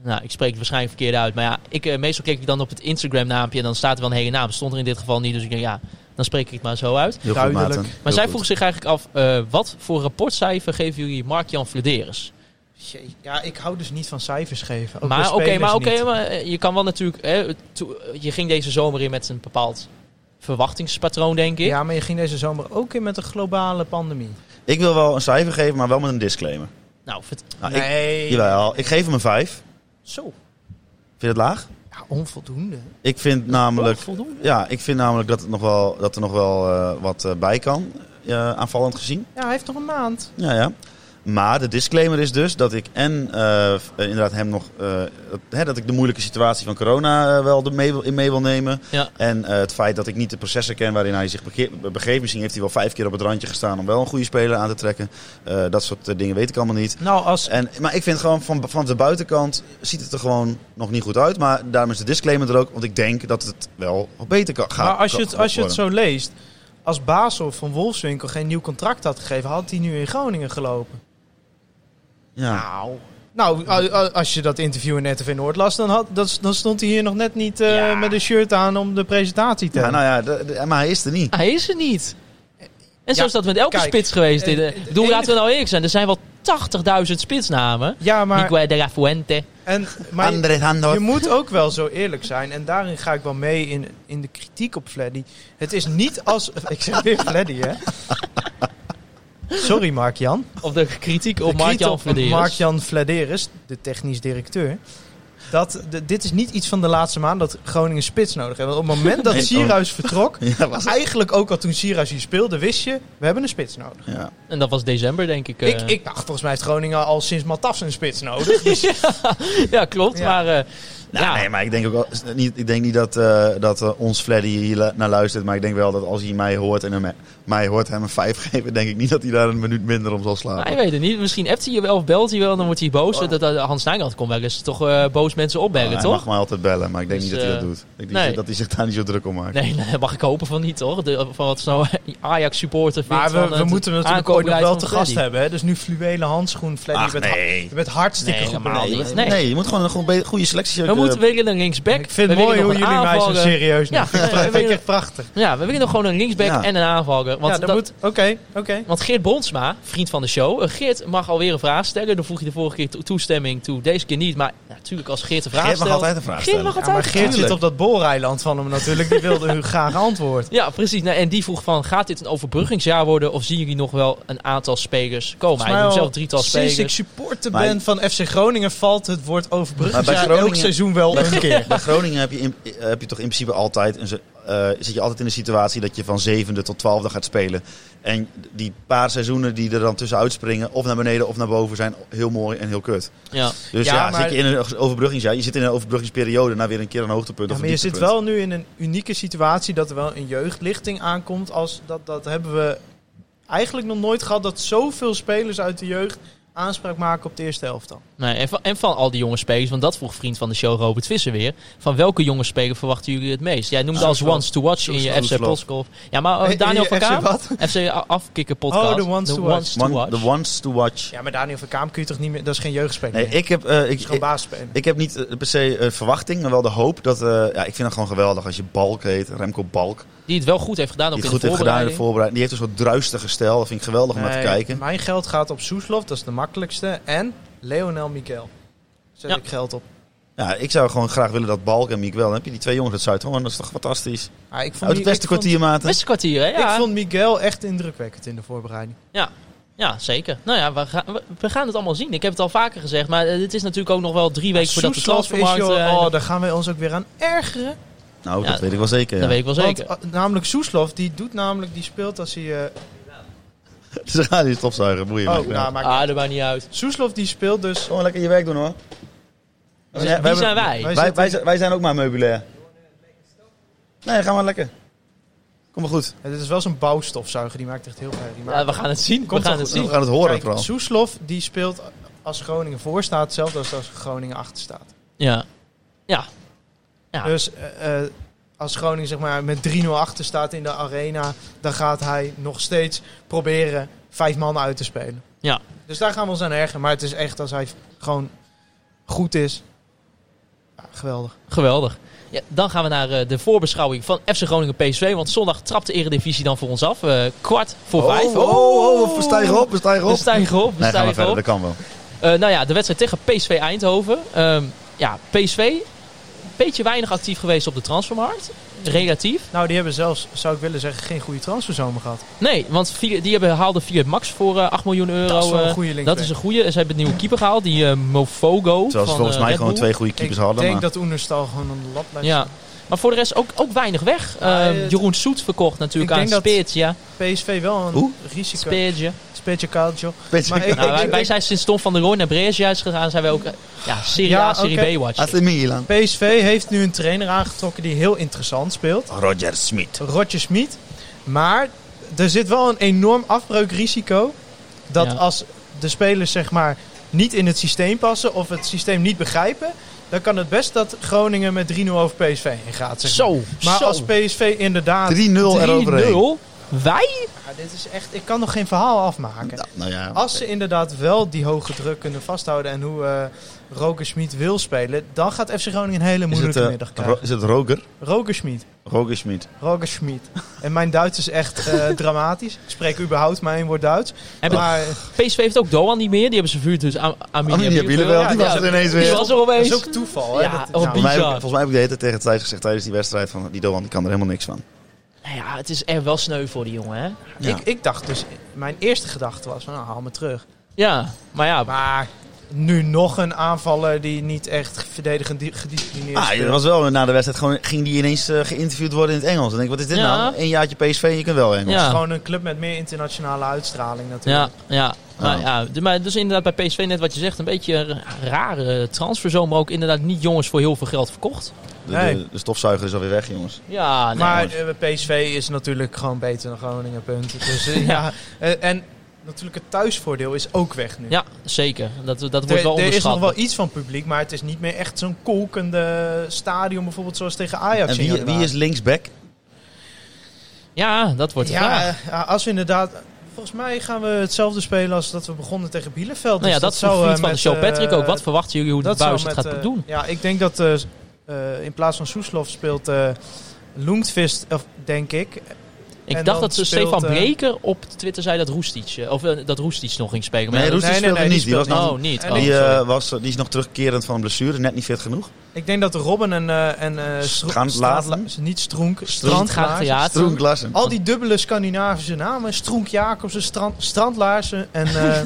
Nou, ik spreek het waarschijnlijk verkeerd uit. Maar ja, ik, eh, meestal klik ik dan op het Instagram-naampje en dan staat er wel een hele naam. Stond er in dit geval niet, dus ik denk, ja, dan spreek ik het maar zo uit. Heel Duidelijk. goed, Maarten. Maar Heel Maar zij goed. vroegen zich eigenlijk af, eh, wat voor rapportcijfer geven jullie Mark-Jan Flederis? Jee, Ja, ik hou dus niet van cijfers geven. Ook bij Maar oké, spelers maar oké, niet. maar eh, je kan wel natuurlijk... Hè, toe- je ging deze zomer in met een bepaald verwachtingspatroon, denk ik. Ja, maar je ging deze zomer ook in met een globale pandemie. Ik wil wel een cijfer geven, maar wel met een disclaimer. Nou, vert- Nou, ik, nee. jawel, ik geef hem een 5. Vind Zo. je dat laag? Ja, onvoldoende. Ik vind namelijk, voldoende. ja, ik vind namelijk dat, het nog wel, dat er nog wel eh, wat eh, bij kan, eh, aanvallend gezien. Ja, hij heeft nog een maand. Ja, ja. Maar de disclaimer is dus dat ik en eh, eh, inderdaad hem nog, eh, dat- hè, dat ik de moeilijke situatie van corona eh, wel er mee, wil- in mee wil nemen. Ja. En eh, het feit dat ik niet de processen ken waarin hij zich bege- begeeft. Misschien heeft hij wel vijf keer op het randje gestaan om wel een goede speler aan te trekken. Eh, dat soort eh, dingen weet ik allemaal niet. Nou, als... En, maar ik vind gewoon van, van de buitenkant ziet het er gewoon nog niet goed uit. Maar daarom is de disclaimer er ook. Want ik denk dat het wel beter kan gaan. maar als je, het, als je het zo leest... Als Basel van Wolfswinkel geen nieuw contract had gegeven... had hij nu in Groningen gelopen. Ja. Nou... Nou, a- a- als je dat interview in RTV Noord las... dan, had, dat, dan stond hij hier nog net niet eh, met een shirt aan om de presentatie te ja, hebben. nou ja, de- de- maar hij is er niet. Hij is er niet. En zo Ja, is dat met elke kijk, spits geweest. eh, dit, eh. het Ik bedoel, enige- laten we nou eerlijk zijn. Er zijn wel 80.000 spitsnamen. ja, maar... Miguel de la Fuente. En, maar André Handel. Je moet ook wel zo eerlijk zijn. En daarin ga ik wel mee in, in de kritiek op Fleddy. Het is niet als... Ik zeg weer Fleddy, hè? Sorry, Mark-Jan. Of de kritiek De op Mark-Jan kritiek op Flederis. Mark-Jan Vladeris, de technisch directeur. Dat, de- dit is niet iets van de laatste maand dat Groningen spits nodig heeft. Want op het moment dat Nee, Sierhuis vertrok... Ja, was het. Eigenlijk ook al toen Sierhuis hier speelde, wist je... We hebben een spits nodig. Ja. En dat was december, denk ik. eh. Ik, ik dacht, volgens mij heeft Groningen al sinds Matafs een spits nodig. Dus Ja, klopt. Ja. Maar eh, Nou, ja, Nee, maar ik denk ook wel, niet, ik denk niet dat, eh, dat eh, ons Fleddy hier lu- naar luistert. Maar ik denk wel dat als hij mij hoort en hem, mij hoort hem een 5 geven, denk ik niet dat hij daar een minuut minder om zal slapen. hij weet het niet. Misschien appt hij je wel of belt hij wel. Dan wordt hij boos. Oh. Dat, dat- Hans Nijland kon wel eens toch eh, boos mensen opbellen, hij toch? mag mij altijd bellen, maar ik denk Dus, niet dat hij dat eh, doet. Ik denk nee. dat hij zich daar niet zo druk om maakt. Nee, nee, mag ik hopen van niet, toch? De, van wat zo'n Ajax supporter vindt. Maar we, van het we moeten hem natuurlijk ooit nog aankoopbeleid wel van te gast Freddy. hebben. Hè? Dus nu fluwelen handschoen, Fleddy. Ach, je, bent nee. ha- je bent hartstikke Nee, goed helemaal beneden. niet. Nee. Nee. je moet gewoon een goede- goede selectie. We moeten weer een linksback. Ik vind we het mooi willen hoe nog jullie een mij zo aanvaller. serieus Ja, nemen. Dat we vind ik willen, echt prachtig. ja, we willen nog gewoon een linksback Ja. en een aanvaller. Want, Ja, dat dat- moet... Oké, oké. want Geert Bronsma, vriend van de show. eh, Geert mag alweer een vraag stellen. Dan vroeg je de vorige keer to- toestemming toe. Deze keer niet. Maar ja, natuurlijk, als Geert een vraag Geert mag stelt... altijd een vraag Geert stellen. mag Ja, maar altijd Geert zit Tuurlijk. op dat booreiland van hem natuurlijk. Die wilde u graag antwoord. Ja, precies. Nou, en die vroeg van, gaat dit een overbruggingsjaar worden? Of zien jullie nog wel een aantal spelers komen? Hij noemt zelf drietal Nou, sinds ik spelers. supporter Maar- ben van FC Groningen valt het woord Maar bij overbruggingsjaar elk Groningen- seizoen wel een keer. Bij Groningen heb je, in- eh, heb je toch in principe altijd een, se- eh, zit je altijd in de situatie dat je van zevende tot twaalfde gaat spelen. En die paar seizoenen die er dan tussenuit springen, of naar beneden of naar boven, zijn heel mooi en heel kut. Ja. Dus Ja, ja, maar- zit je in een overbruggingsjaar, je zit in een overbruggingsperiode naar weer een keer een hoogtepunt Ja, of maar een je zit dieptepunt. wel nu in een unieke situatie dat er wel een jeugdlichting aankomt. Als dat, dat hebben we eigenlijk nog nooit gehad. Dat zoveel spelers uit de jeugd aanspraak maken op de eerste helft al. Nee, en, van, en van al die jonge spelers, want dat vroeg vriend van de show Robert Visser weer. Van welke jonge speler verwachten jullie het meest? Jij noemde Ah, als Soeslof. ones to watch in je Soeslof. FC Postkolf. Ja, maar eh, Eh, Daniel eh, van FC Kaam? wat? FC Afkikken podcast. Oh, de ones to watch. to One- watch. The ones to watch. Ja, maar Daniel van Kaam kun je toch niet meer... Dat is geen jeugdspeler Nee, meer. Dat ik heb, eh, ik, is gewoon ik, baasspeler. ik heb niet eh, per se eh, verwachting, maar wel de hoop dat... eh, ja, ik vind het gewoon geweldig als je Balk heet, Remco Balk. Die het wel goed heeft gedaan, ook Die in het de goed heeft gedaan in voorbereiding. de voorbereiding. Die heeft dus een soort druistige stijl. Dat vind ik geweldig om naar te Nee, kijken. Mijn geld gaat op Soeslof, dat is de makkelijkste. En Leonel Miguel. Zet Ja. ik geld op. Ja, ik zou gewoon graag willen dat Balk en Miek wel. Dan heb je die twee jongens uit Zuid-Holland. Dat is toch fantastisch. Ah, ik vond Uit het Mi- ik beste vond- kwartier, Maarten. Beste kwartier, hè? Ja. Ik vond Miguel echt indrukwekkend in de voorbereiding. ja, zeker. Nou ja, we gaan, we- we gaan het allemaal zien. Ik heb het al vaker gezegd, maar eh, het is natuurlijk ook nog wel drie weken voordat de Soeslof is, transfermarkt... joh, eh, oh, daar gaan wij ons ook weer aan ergeren. Nou, Ja, dat weet ik wel zeker. Ja. Dat weet ik wel zeker. Want, ah, namelijk Soeslof, die doet namelijk, die speelt als hij... eh, Ze gaan die stofzuigen. Boeien. oh, maakt niet nou, uit. maakt Ah, dat maakt niet uit. Soeslof die speelt dus... Gewoon lekker je werk doen, hoor. Dus wie zijn wij? wij? Wij, wij, zijn- wij zijn ook maar meubilair. Nee, ga maar lekker. Kom maar goed. Het eh, is wel zo'n bouwstofzuiger, die maakt echt heel veel herrie. Maar- Ja, we gaan het zien. Komt we gaan wel het goed. We zien. gaan het horen Kijk, vooral. Soeslof, die speelt als Groningen voor staat, hetzelfde als als Groningen achter staat. Ja. Ja. Ja. Dus eh, eh, als Groningen zeg maar, met 3-0 achter staat in de arena, dan gaat hij nog steeds proberen vijf man uit te spelen. Ja. Dus daar gaan we ons aan ergeren. Maar het is echt als hij gewoon goed is, Ja, geweldig. Geweldig. Ja, dan gaan we naar eh, de voorbeschouwing van FC Groningen PSV. Want zondag trapt de Eredivisie dan voor ons af. Eh, kwart voor vijf. Oh, oh, oh, we stijgen op, we stijgen We op. stijgen op, we Nee, ga stijgen maar verder, op. dat kan wel. Eh, nou ja, de wedstrijd tegen PSV Eindhoven. Ehm, ja, PSV, beetje weinig actief geweest op de transfermarkt. Relatief. Nou, die hebben zelfs, zou ik willen zeggen, geen goede transferzomer gehad. Nee, want Fi- die hebben, haalden Fiat Max voor eh, 8 miljoen euro. dat is wel eh, een goede link. dat is een goede. En Ze hebben een nieuwe keeper gehaald, die eh, Mofogo. Terwijl ze van, volgens eh, mij Red gewoon Bull. twee goede keepers ik hadden. denk maar- dat Oenerstal gewoon aan de lat blijft Ja. staan. Maar voor de rest ook, ook weinig weg. Ja, Ehm, het- Jeroen Soet verkocht natuurlijk Ik aan denk dat- Spits, ja. PSV wel een Hoe? risico. Speertje. Speertje Calcio. Beetje- Maar ik- Nou, wij, ik wij denk- zijn sinds Tom van der Rooij naar Brescia is gegaan, zijn wij ook eh, ja, Serie Ja, A, Serie oké. B watch. AC Milan. PSV heeft nu een trainer aangetrokken die heel interessant speelt. Roger Smit. Roger Smit. Maar er zit wel een enorm afbreukrisico. Dat Ja. als de spelers zeg maar niet in het systeem passen of het systeem niet begrijpen, dan kan het best dat Groningen met 3-0 over PSV heen gaat. Zeg maar. Zo, Maar zo. als PSV inderdaad. 3-0 eroverheen. 3-0. Wij? Ja, dit is echt, ik kan nog geen verhaal afmaken. Nou, nou ja. Als ze inderdaad wel die hoge druk kunnen vasthouden en hoe eh Roger Smit wil spelen, dan gaat FC Groningen een hele Is het, moeilijke eh, middag Ro- krijgen. is het Roger? Roger Smit. Roger Smit. Roger Schmid. En mijn Duits is echt eh, dramatisch. Ik spreek überhaupt maar één woord Duits. En Maar PSV heeft ook Doan niet meer. Die hebben ze vuurd dus aan Oh, die hebben jullie wel. Die was er ineens Die weer. was er dat opeens. is ook toeval. Hè? Ja, Dat- nou, oh, Volgens mij, heb ik- Bizar. volgens mij heb ik de hele tijd tegen Thijs gezegd tijdens die wedstrijd van die Doan die kan er helemaal niks van. Nou ja, het is echt wel sneu voor die jongen, hè? Ja. ik, ik dacht dus, mijn eerste gedachte was van nou, haal me terug. Ja, maar ja. Maar nu nog een aanvaller die niet echt verdedigend di- gedisciplineerd Ah, speelt. dat was wel na de wedstrijd gewoon ging die ineens eh, geïnterviewd worden in het Engels. Dan denk ik, wat is dit Ja. nou? Een jaartje PSV en je kunt wel Engels. Ja. Gewoon een club met meer internationale uitstraling Ja, natuurlijk. ja. Maar, Oh. ja, d- maar dus inderdaad bij PSV, net wat je zegt, een beetje een rare transferzomer. Ook inderdaad niet jongens voor heel veel geld verkocht. De, de, Nee. de stofzuiger is alweer weg, jongens. Ja, nee. maar eh, PSV is natuurlijk gewoon beter dan Groningen, punt. Dus, eh, ja. eh, en natuurlijk het thuisvoordeel is ook weg nu. ja, zeker. Dat, dat wordt wel Er, er is nog onderschat. wel iets van publiek, maar het is niet meer echt zo'n kolkende stadion, bijvoorbeeld zoals tegen Ajax. En in wie, januari. wie is linksback? Ja, dat wordt de Ja, vraag. eh, als we inderdaad. Volgens mij gaan we hetzelfde spelen als dat we begonnen tegen Bielefeld. Nou ja, Dus dat zou, vroeg eh, vriend van de met, show Patrick eh, ook. Wat verwachten jullie hoe de zou Buis het met, gaat eh, doen? Ja, ik denk dat eh, eh, in plaats van Soeslof speelt eh Loengtvist, of, denk ik. Ik en dacht dan dat ze speelt, Stefan eh, Breker op Twitter zei dat Roestic, eh, of eh, dat Roestic nog ging spelen. Maar Nee, ja, Roestic nee, nee, speelde nee, die niet. Die, was speelt nog, Oh, niet. En Oh, die, sorry. eh, was, die is nog terugkerend van een blessure, net niet fit genoeg. Ik denk dat Robben en, eh en eh, Stro- Gaan- Straatla- laten. niet Stroenk, gaat Strandlaarzen. theater. Stroen Klassen. Al die dubbele Scandinavische namen. Stroenk Jacobsen, strand, Strandlaarsen en eh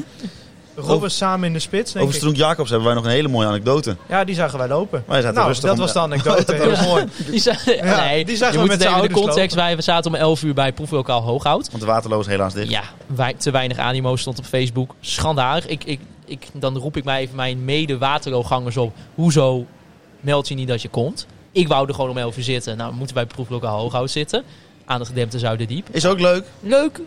Robben samen in de spits. Denk Over ik. Stroen Jacobs hebben wij nog een hele mooie anekdote. Ja, die zagen wij lopen. Wij zaten nou, rustig dat om- was de anekdote. Heel mooi. Die zei, Ja, nee, die die zagen je we moet het met even z'n in de ouders context. Wij we zaten om 11 uur bij proeflokaal Hooghout. Want de Waterloo is helaas dicht. Ja, wij, te weinig animo stond op Facebook. Schandalig. Ik, ik, ik, dan roep ik mij even mijn mede-waterloogangers op. Hoezo meld je niet dat je komt? Ik wou er gewoon om 11 uur zitten. Nou, we moeten bij proeflokaal Hooghout zitten. Aan de gedempte Zuiderdiep. Is ook leuk. Leuk.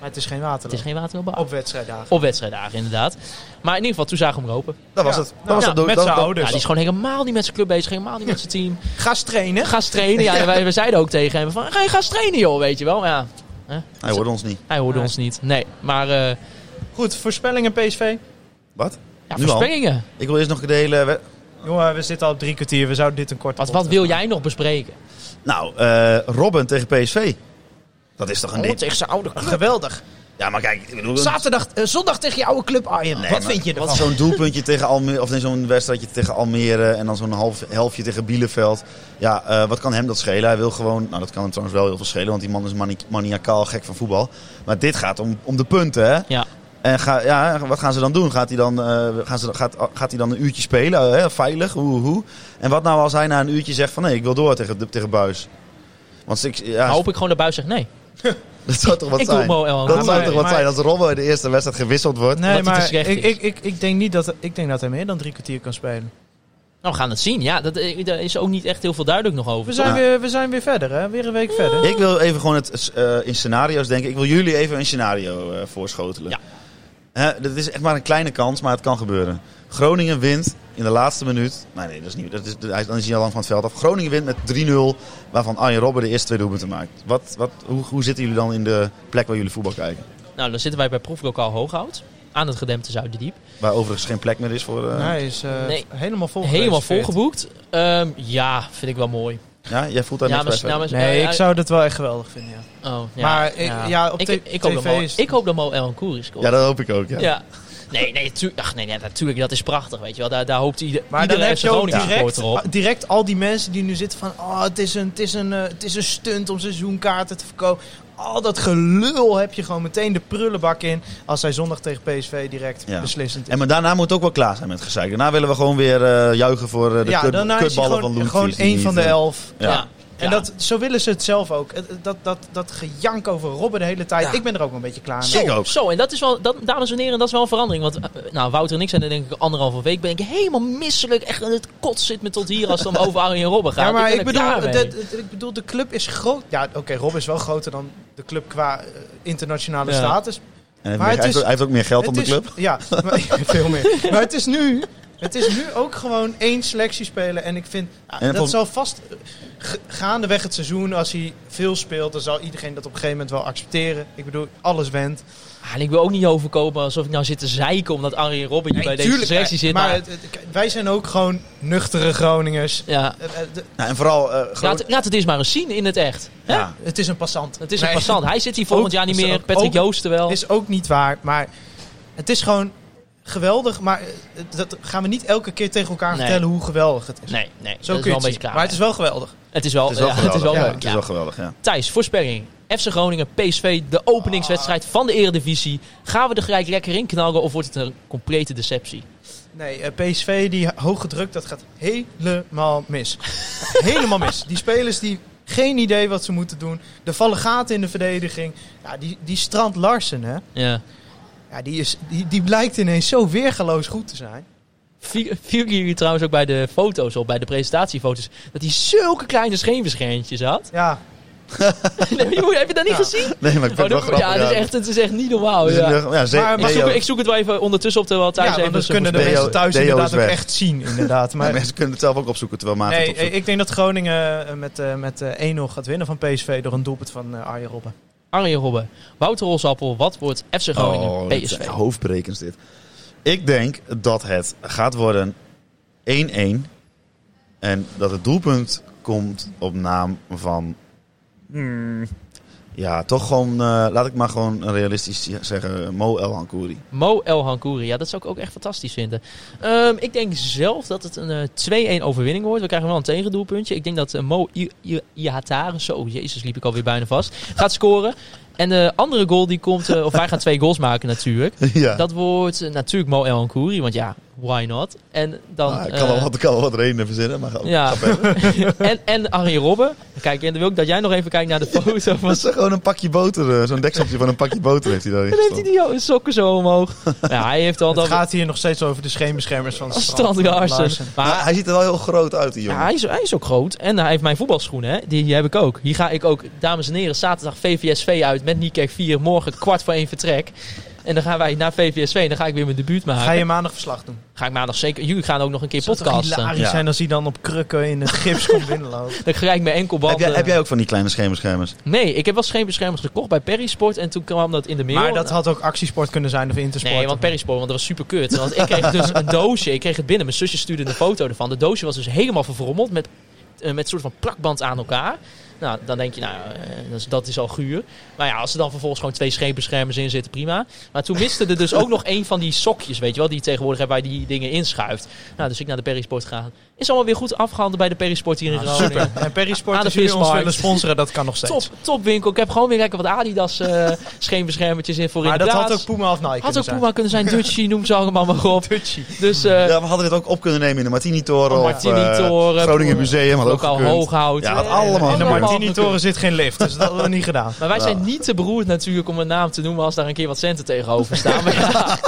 Maar het is geen Het waterloop. is geen waterloopbaan. Op, Op wedstrijddagen. op wedstrijddagen, inderdaad. Maar in ieder geval, toen zagen we hem lopen. Dat was Ja. het. Dat Nou, was ja, het. Dat- met dat- z'n dat- ouders. Ja, die is gewoon helemaal niet met zijn club bezig. Helemaal niet met zijn team. Ga eens trainen. Ga eens trainen. Ja, en wij, we zeiden ook tegen hem van, ga je gaan trainen joh, weet je wel. Maar ja, Hij hoorde ons niet. hij hoorde Nee. ons niet. Nee, maar... eh, Goed, voorspellingen PSV. Wat? Ja, Nu al? voorspellingen. Ik wil eerst nog de hele... we- Jongen, we zitten al op drie kwartier. We zouden dit een korte Wat, podcast wat wil maken. jij nog bespreken? Nou, eh, Robben tegen PSV. Dat is toch een ding? tegen zijn oude club. Geweldig. Ja, maar kijk, ik bedoel... Oh, Zaterdag, eh, zondag tegen je oude club Arjen. Ah, Nee, wat maar- vind je ervan? Wat zo'n doelpuntje tegen Almere, of nee, zo'n wedstrijdje tegen Almere en dan zo'n half, helftje tegen Bieleveld. Ja, eh, wat kan hem dat schelen? Hij wil gewoon, nou dat kan hem trouwens wel heel veel schelen, want die man is mani- maniacaal gek van voetbal. Maar dit gaat om, om de punten, hè? Ja. En ga, ja, wat gaan ze dan doen? Gaat hij dan, eh, gaan ze, gaat, gaat hij dan een uurtje spelen, hè? veilig, hoe, hoe? En wat nou als hij na een uurtje zegt van nee, ik wil door tegen, de- tegen Buis? Want ik, ja, Ah. hoop ik gewoon dat Buis zegt nee. dat zou toch wat ik doe zijn? Mo El dat Hamdi. zou maar- toch wat maar- zijn als Robben in de eerste wedstrijd gewisseld wordt? hij Nee, te maar ik, slecht is. ik, ik, ik, denk niet dat, ik denk dat hij meer dan drie kwartier kan spelen. Nou, we gaan het zien. Ja, dat, eh, daar is ook niet echt heel veel duidelijk nog We over. zijn, Ja. weer, we zijn weer verder, hè? Weer een week verder. Ik wil even gewoon het, eh, in scenario's denken. Ik wil jullie even een scenario eh, voorschotelen. Ja. Hè, dat is echt maar een kleine kans, maar het kan gebeuren. Groningen wint in de laatste minuut. Nee, nee, dat is niet. Dat is, hij- dan is hij al lang van het veld af. Groningen wint met 3-0, waarvan Arjen Robben de eerste twee doelpunten maakt. Wat, wat, hoe, hoe zitten jullie dan in de plek waar jullie voetbal kijken? Nou, dan zitten wij bij proeflokaal Hooghout. aan het gedempte Zuiderdiep. Waar overigens geen plek meer is voor... eh, hij is eh, nee. helemaal vol. Helemaal gereserveerd. volgeboekt. Ehm, ja, vind ik wel mooi. Ja, jij voelt daar ja, niks bij. maar- nou, maar- Nee, eh, ik zou dat wel echt geweldig vinden. Ja. oh, ja, maar ik- ja, op ik, t- ik hoop dat tv Mo- is- ik hoop dat Mo El Koeri scoort. ja, dat hoop ik ook, ja. Ja. Nee, nee, tu- ach, nee, nee, natuurlijk, dat is prachtig, weet je wel. Daar, daar hoopt ieder, Maar dan iedere heb FC je ook Groningen direct, Ah, supporter op. direct al die mensen die nu zitten van... Oh, het is een, het is een, eh, het is een stunt om seizoenkaarten te verkopen. Al dat gelul heb je gewoon meteen de prullenbak in... als zij zondag tegen PSV direct Ja. beslissend is. En maar daarna moet het ook wel klaar zijn met gezeik. Daarna willen we gewoon weer eh, juichen voor eh, de ja, kut, daarna is hij kutballen van gewoon, Loenfies. gewoon die één van de niet, eh, elf. Ja. En dat, zo willen ze het zelf ook. Het- het- Dat, dat, dat gejank over Robben de hele tijd. Ja. Ik ben er ook een beetje klaar mee. Ik Zo, ook. zo, en dat is wel, dat, dames en heren, dat is wel een verandering. Want eh, nou, Wouter en ik zijn er denk ik anderhalve week ben ik helemaal misselijk. Echt, het kot zit me tot hier als het dan over Arjen Robben gaat. Ja, maar ben ik, er bedoel, klaar mee. de, de- ik bedoel, de club is groot. Ja, oké, Rob is wel groter dan de club qua eh, internationale Ja. status. En Maar hij, het heeft, is- ook- hij heeft ook meer geld dan de Het club. is- Ja, maar, veel meer. Maar het is, nu, het is nu ook gewoon één selectie spelen. En ik vind, ah, En dat vol- zal vast eh, g- gaandeweg het seizoen, als hij veel speelt, dan zal iedereen dat op een gegeven moment wel accepteren. Ik bedoel, alles went. Ah, en ik wil ook niet overkomen alsof ik nou zit te zeiken omdat Arjen Robben hier bij deze selectie zit. eh, Maar maar- het- het- kijk, wij zijn ook gewoon nuchtere Groningers. ja. Eh, eh, de- Nou, en vooral... eh, gewoon, Laat, laat het eens maar eens zien in het echt. Hè? ja. Het is een passant. Het is een Nee. passant. Hij zit hier volgend Ook- jaar niet is er meer. ook- Patrick ook- Joosten wel. Is ook niet waar, maar het is gewoon geweldig. Maar eh, dat gaan we niet elke keer tegen elkaar Nee. vertellen hoe geweldig het is. nee, nee. Zo dat is kun wel je een het beetje zien. klaar. Maar het is wel geweldig. het is wel, Het is wel ja, geweldig. het is wel ja. leuk. Het ja. is wel geweldig, ja. Thijs, voorspelling. FC Groningen, PSV, de openingswedstrijd van de Eredivisie. Gaan we er gelijk lekker in knallen of wordt het een complete deceptie? Nee, eh, PSV, die hoge druk, dat gaat helemaal mis. helemaal mis. Die spelers die geen idee wat ze moeten doen. Er vallen gaten in de verdediging. Ja, die, die Strand Larsen, hè. Ja. Ja, die, is, die, die blijkt ineens zo weergeloos goed te zijn. Viel- Viel jullie trouwens ook bij de foto's op, bij de presentatiefoto's, dat hij zulke kleine scheemverschijntjes had? Ja, Nee, joh, Heb je dat niet Ja. gezien? Nee, maar ik Oh, vind het wel dat- grappig. ja, dat is echt, het is echt niet normaal. Dus in Ja. de- ja, ze- Maar- Ik, maar Leo- zoek, ik zoek het wel even ondertussen op terwijl Thijs ja want even... dan zijn kunnen de Deo- mensen thuis Deo is inderdaad ook weg. echt zien, inderdaad. maar Maar mensen kunnen het zelf ook opzoeken terwijl Maarten Nee, het opzoekt. ik denk dat Groningen eh, met, eh, met eh, 1-0 gaat winnen van PSV door een doelpunt van eh, Arjen Robben. Arjen Robben, Wouter Rosappel, wat wordt FC Groningen Oh, dit PSV? zijn hoofdbrekens dit. Ik denk dat het gaat worden 1-1. En dat het doelpunt komt op naam van... hmm, ja, toch gewoon... eh, laat ik maar gewoon realistisch zeggen. Mo El Hankouri. Mo El Hankouri, ja, dat zou ik ook echt fantastisch vinden. Ehm, ik denk zelf dat het een eh, 2-1 overwinning wordt. We krijgen wel een tegendoelpuntje. Ik denk dat eh, Mo I- I- Ihatare, zo, jezus, liep ik alweer bijna vast, gaat scoren. En de andere goal die komt, eh, of wij gaan twee goals maken natuurlijk. ja, Dat wordt eh, natuurlijk Mo El Hankouri, want ja, why not? En dan... Ah, ik eh, kan wel wat, ik kan wel wat redenen verzinnen, maar ga, Ja. ga verder. en, en Arjen Robben. Kijk, en dan wil ik dat jij nog even kijkt naar de foto van Dat is gewoon een pakje boter, eh, zo'n dekseltje van een pakje boter heeft hij daarin Dan heeft hij gestopt. die jo- sokken zo omhoog. ja, hij heeft al Het dat gaat hier nog steeds over de scheenbeschermers van strand Larsen. Maar Maar hij ziet er wel heel groot uit, die ja, jongen. hij, is, hij is ook groot. En hij heeft mijn voetbalschoenen, hè. Die, die heb ik ook. Hier ga ik ook, dames en heren, zaterdag VVSV uit met Niekek 4. Morgen kwart voor één vertrek. En dan gaan wij naar VVSV en dan ga ik weer mijn debuut maken. Ga je maandag verslag doen? Ga ik maandag zeker... Jullie gaan ook nog een keer Het zou toch podcasten. hilarisch Ja. zijn als hij dan op krukken in het gips komt binnenlopen. Dan krijg ik mijn enkelband. heb, jij, heb jij ook van die kleine schemerschermers? Nee, ik heb wel scheenbeschermers gekocht bij Perrysport. En toen kwam dat in de mail. Maar dat had ook actiesport kunnen zijn of intersport. Nee, want Perisport, want dat was super kut. Want ik kreeg dus een doosje. Ik kreeg het binnen. Mijn zusje stuurde een foto ervan. De doosje was dus helemaal verfrommeld met, eh, met soort van plakband aan elkaar. Nou, dan denk je, nou, eh, dat is, dat is al guur. Maar ja, als er dan vervolgens gewoon twee scheepbeschermers in zitten, prima. Maar toen miste er dus ook nog een van die sokjes, weet je wel, die je tegenwoordig hebt waar je die dingen inschuift. Nou, dus ik naar de Perisport gegaan. Is allemaal weer goed afgehandeld bij de Perisport hier in Groningen. Ah, super. En Perisport, Aan de als jullie ons vismarkt. willen sponsoren, dat kan nog steeds. Top, top winkel. Ik heb gewoon weer lekker wat Adidas eh scheenbeschermertjes in voor in Maar de dat plaats. had ook Puma of Nike Had kunnen ook zijn. Puma kunnen zijn, Dutchie, noem ze allemaal maar op. Dutchie. Dus eh, Ja, we hadden dit ook op kunnen nemen in de Martini-toren. Oh, of, Martini-toren, eh, Groningen Museum had ook Lokaal gekund. Hooghout. Ja, had allemaal. In de Allemaal Martini-toren zit geen lift, dus dat hadden we niet gedaan. Maar wij zijn Ja. niet te beroerd natuurlijk om een naam te noemen als daar een keer wat centen tegenover staan. maar ja,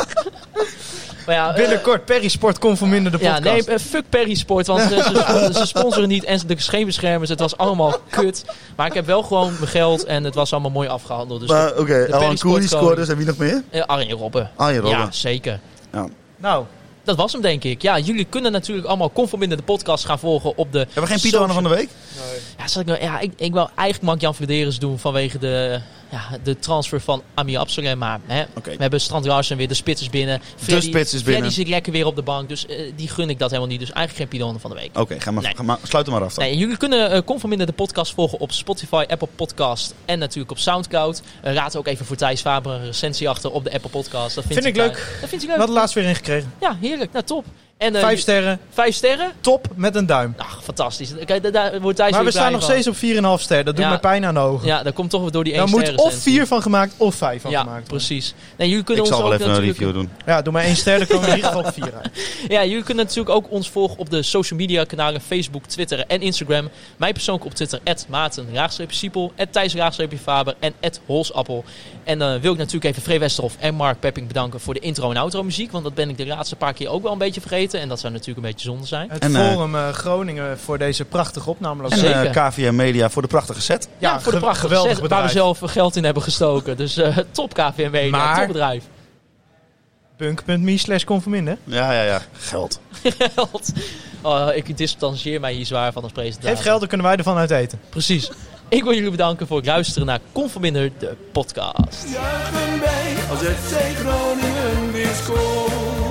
maar ja eh, Binnenkort, Perisport conforminder de ja podcast. nee, eh, fuck Perry Sport, want eh, ze, spon- ze sponsoren niet en de scheenbeschermers. Het was allemaal kut. Maar ik heb wel gewoon mijn geld en het was allemaal mooi afgehandeld. Dus Maar oké, Alan Perisport Koeri scoorde koning. dus en wie nog meer? eh, Arjen Robben. Arjen Robben. Ja, zeker. Nou, Dat was hem, denk ik. Ja, jullie kunnen natuurlijk allemaal conforminder de podcast gaan volgen op de... Hebben we geen Pieter Anne van de Week? Ja, zal ik, nou, ja ik, ik wil eigenlijk Mark Jan Verderens doen vanwege de, ja, de transfer van Ami Absalem. Maar hè, Oké. we hebben Strand Larsen weer, de spits is binnen. spits is binnen. Freddy zit lekker weer op de bank, dus eh, die gun ik dat helemaal niet. Dus eigenlijk geen Pidon van de week. Oké, ga maar, Nee. ga maar, sluit hem maar af dan. Nee, en jullie kunnen eh Conforminder de podcast volgen op Spotify, Apple Podcast en natuurlijk op Soundcloud. Eh, raad ook even voor Thijs Faber een recensie achter op de Apple Podcast. Dat vind, Vind ik fijn. leuk. Dat vind ik We leuk. hadden laatst weer ingekregen. Ja, heerlijk. Nou, top. En, eh, Vijf je- sterren, vijf sterren? top met een duim. Ach, fantastisch. Kijk, daar, daar wordt Thijs Maar we weer staan blij nog van. steeds op 4,5 sterren. Dat doet Ja. mij pijn aan de ogen. Ja, daar komt toch weer door die één Daar moet sterrenrecensie. of 4 van gemaakt of 5 van ja, gemaakt worden. precies. Nee, jullie kunnen Ik zal ons wel ook even een natuurlijk, review doen. Ja, doe maar één ster, dan komen we in ieder geval op 4 uit. Ja, jullie kunnen natuurlijk ook ons volgen op de social media kanalen Facebook, Twitter en Instagram. Mij persoonlijk op Twitter, Maarten, Siepel, Thijs, Faber en Holsappel. En dan wil ik natuurlijk even Free Westerhof en Mark Pepping bedanken voor de intro en outro muziek. Want dat ben ik de laatste paar keer ook wel een beetje vergeten. En dat zou natuurlijk een beetje zonde zijn. Het En, eh, Forum eh, Groningen voor deze prachtige opname. En Zeker. eh, KVM Media voor de prachtige set. Ja, Ja, voor de ge- prachtige geweldig set waar we bedrijf. zelf geld in hebben gestoken. Dus eh, top KVM Media, Maar- top bedrijf. Punk.me slash conforminder. Ja, ja, ja. Geld. Geld. Oh, ik distancieer mij hier zwaar van als presentator. Geef geld, dan kunnen wij ervan uit eten. Precies. Ik wil jullie bedanken voor het luisteren naar Conforminder, de podcast. Juichen bij als FC Groningen weer scoort.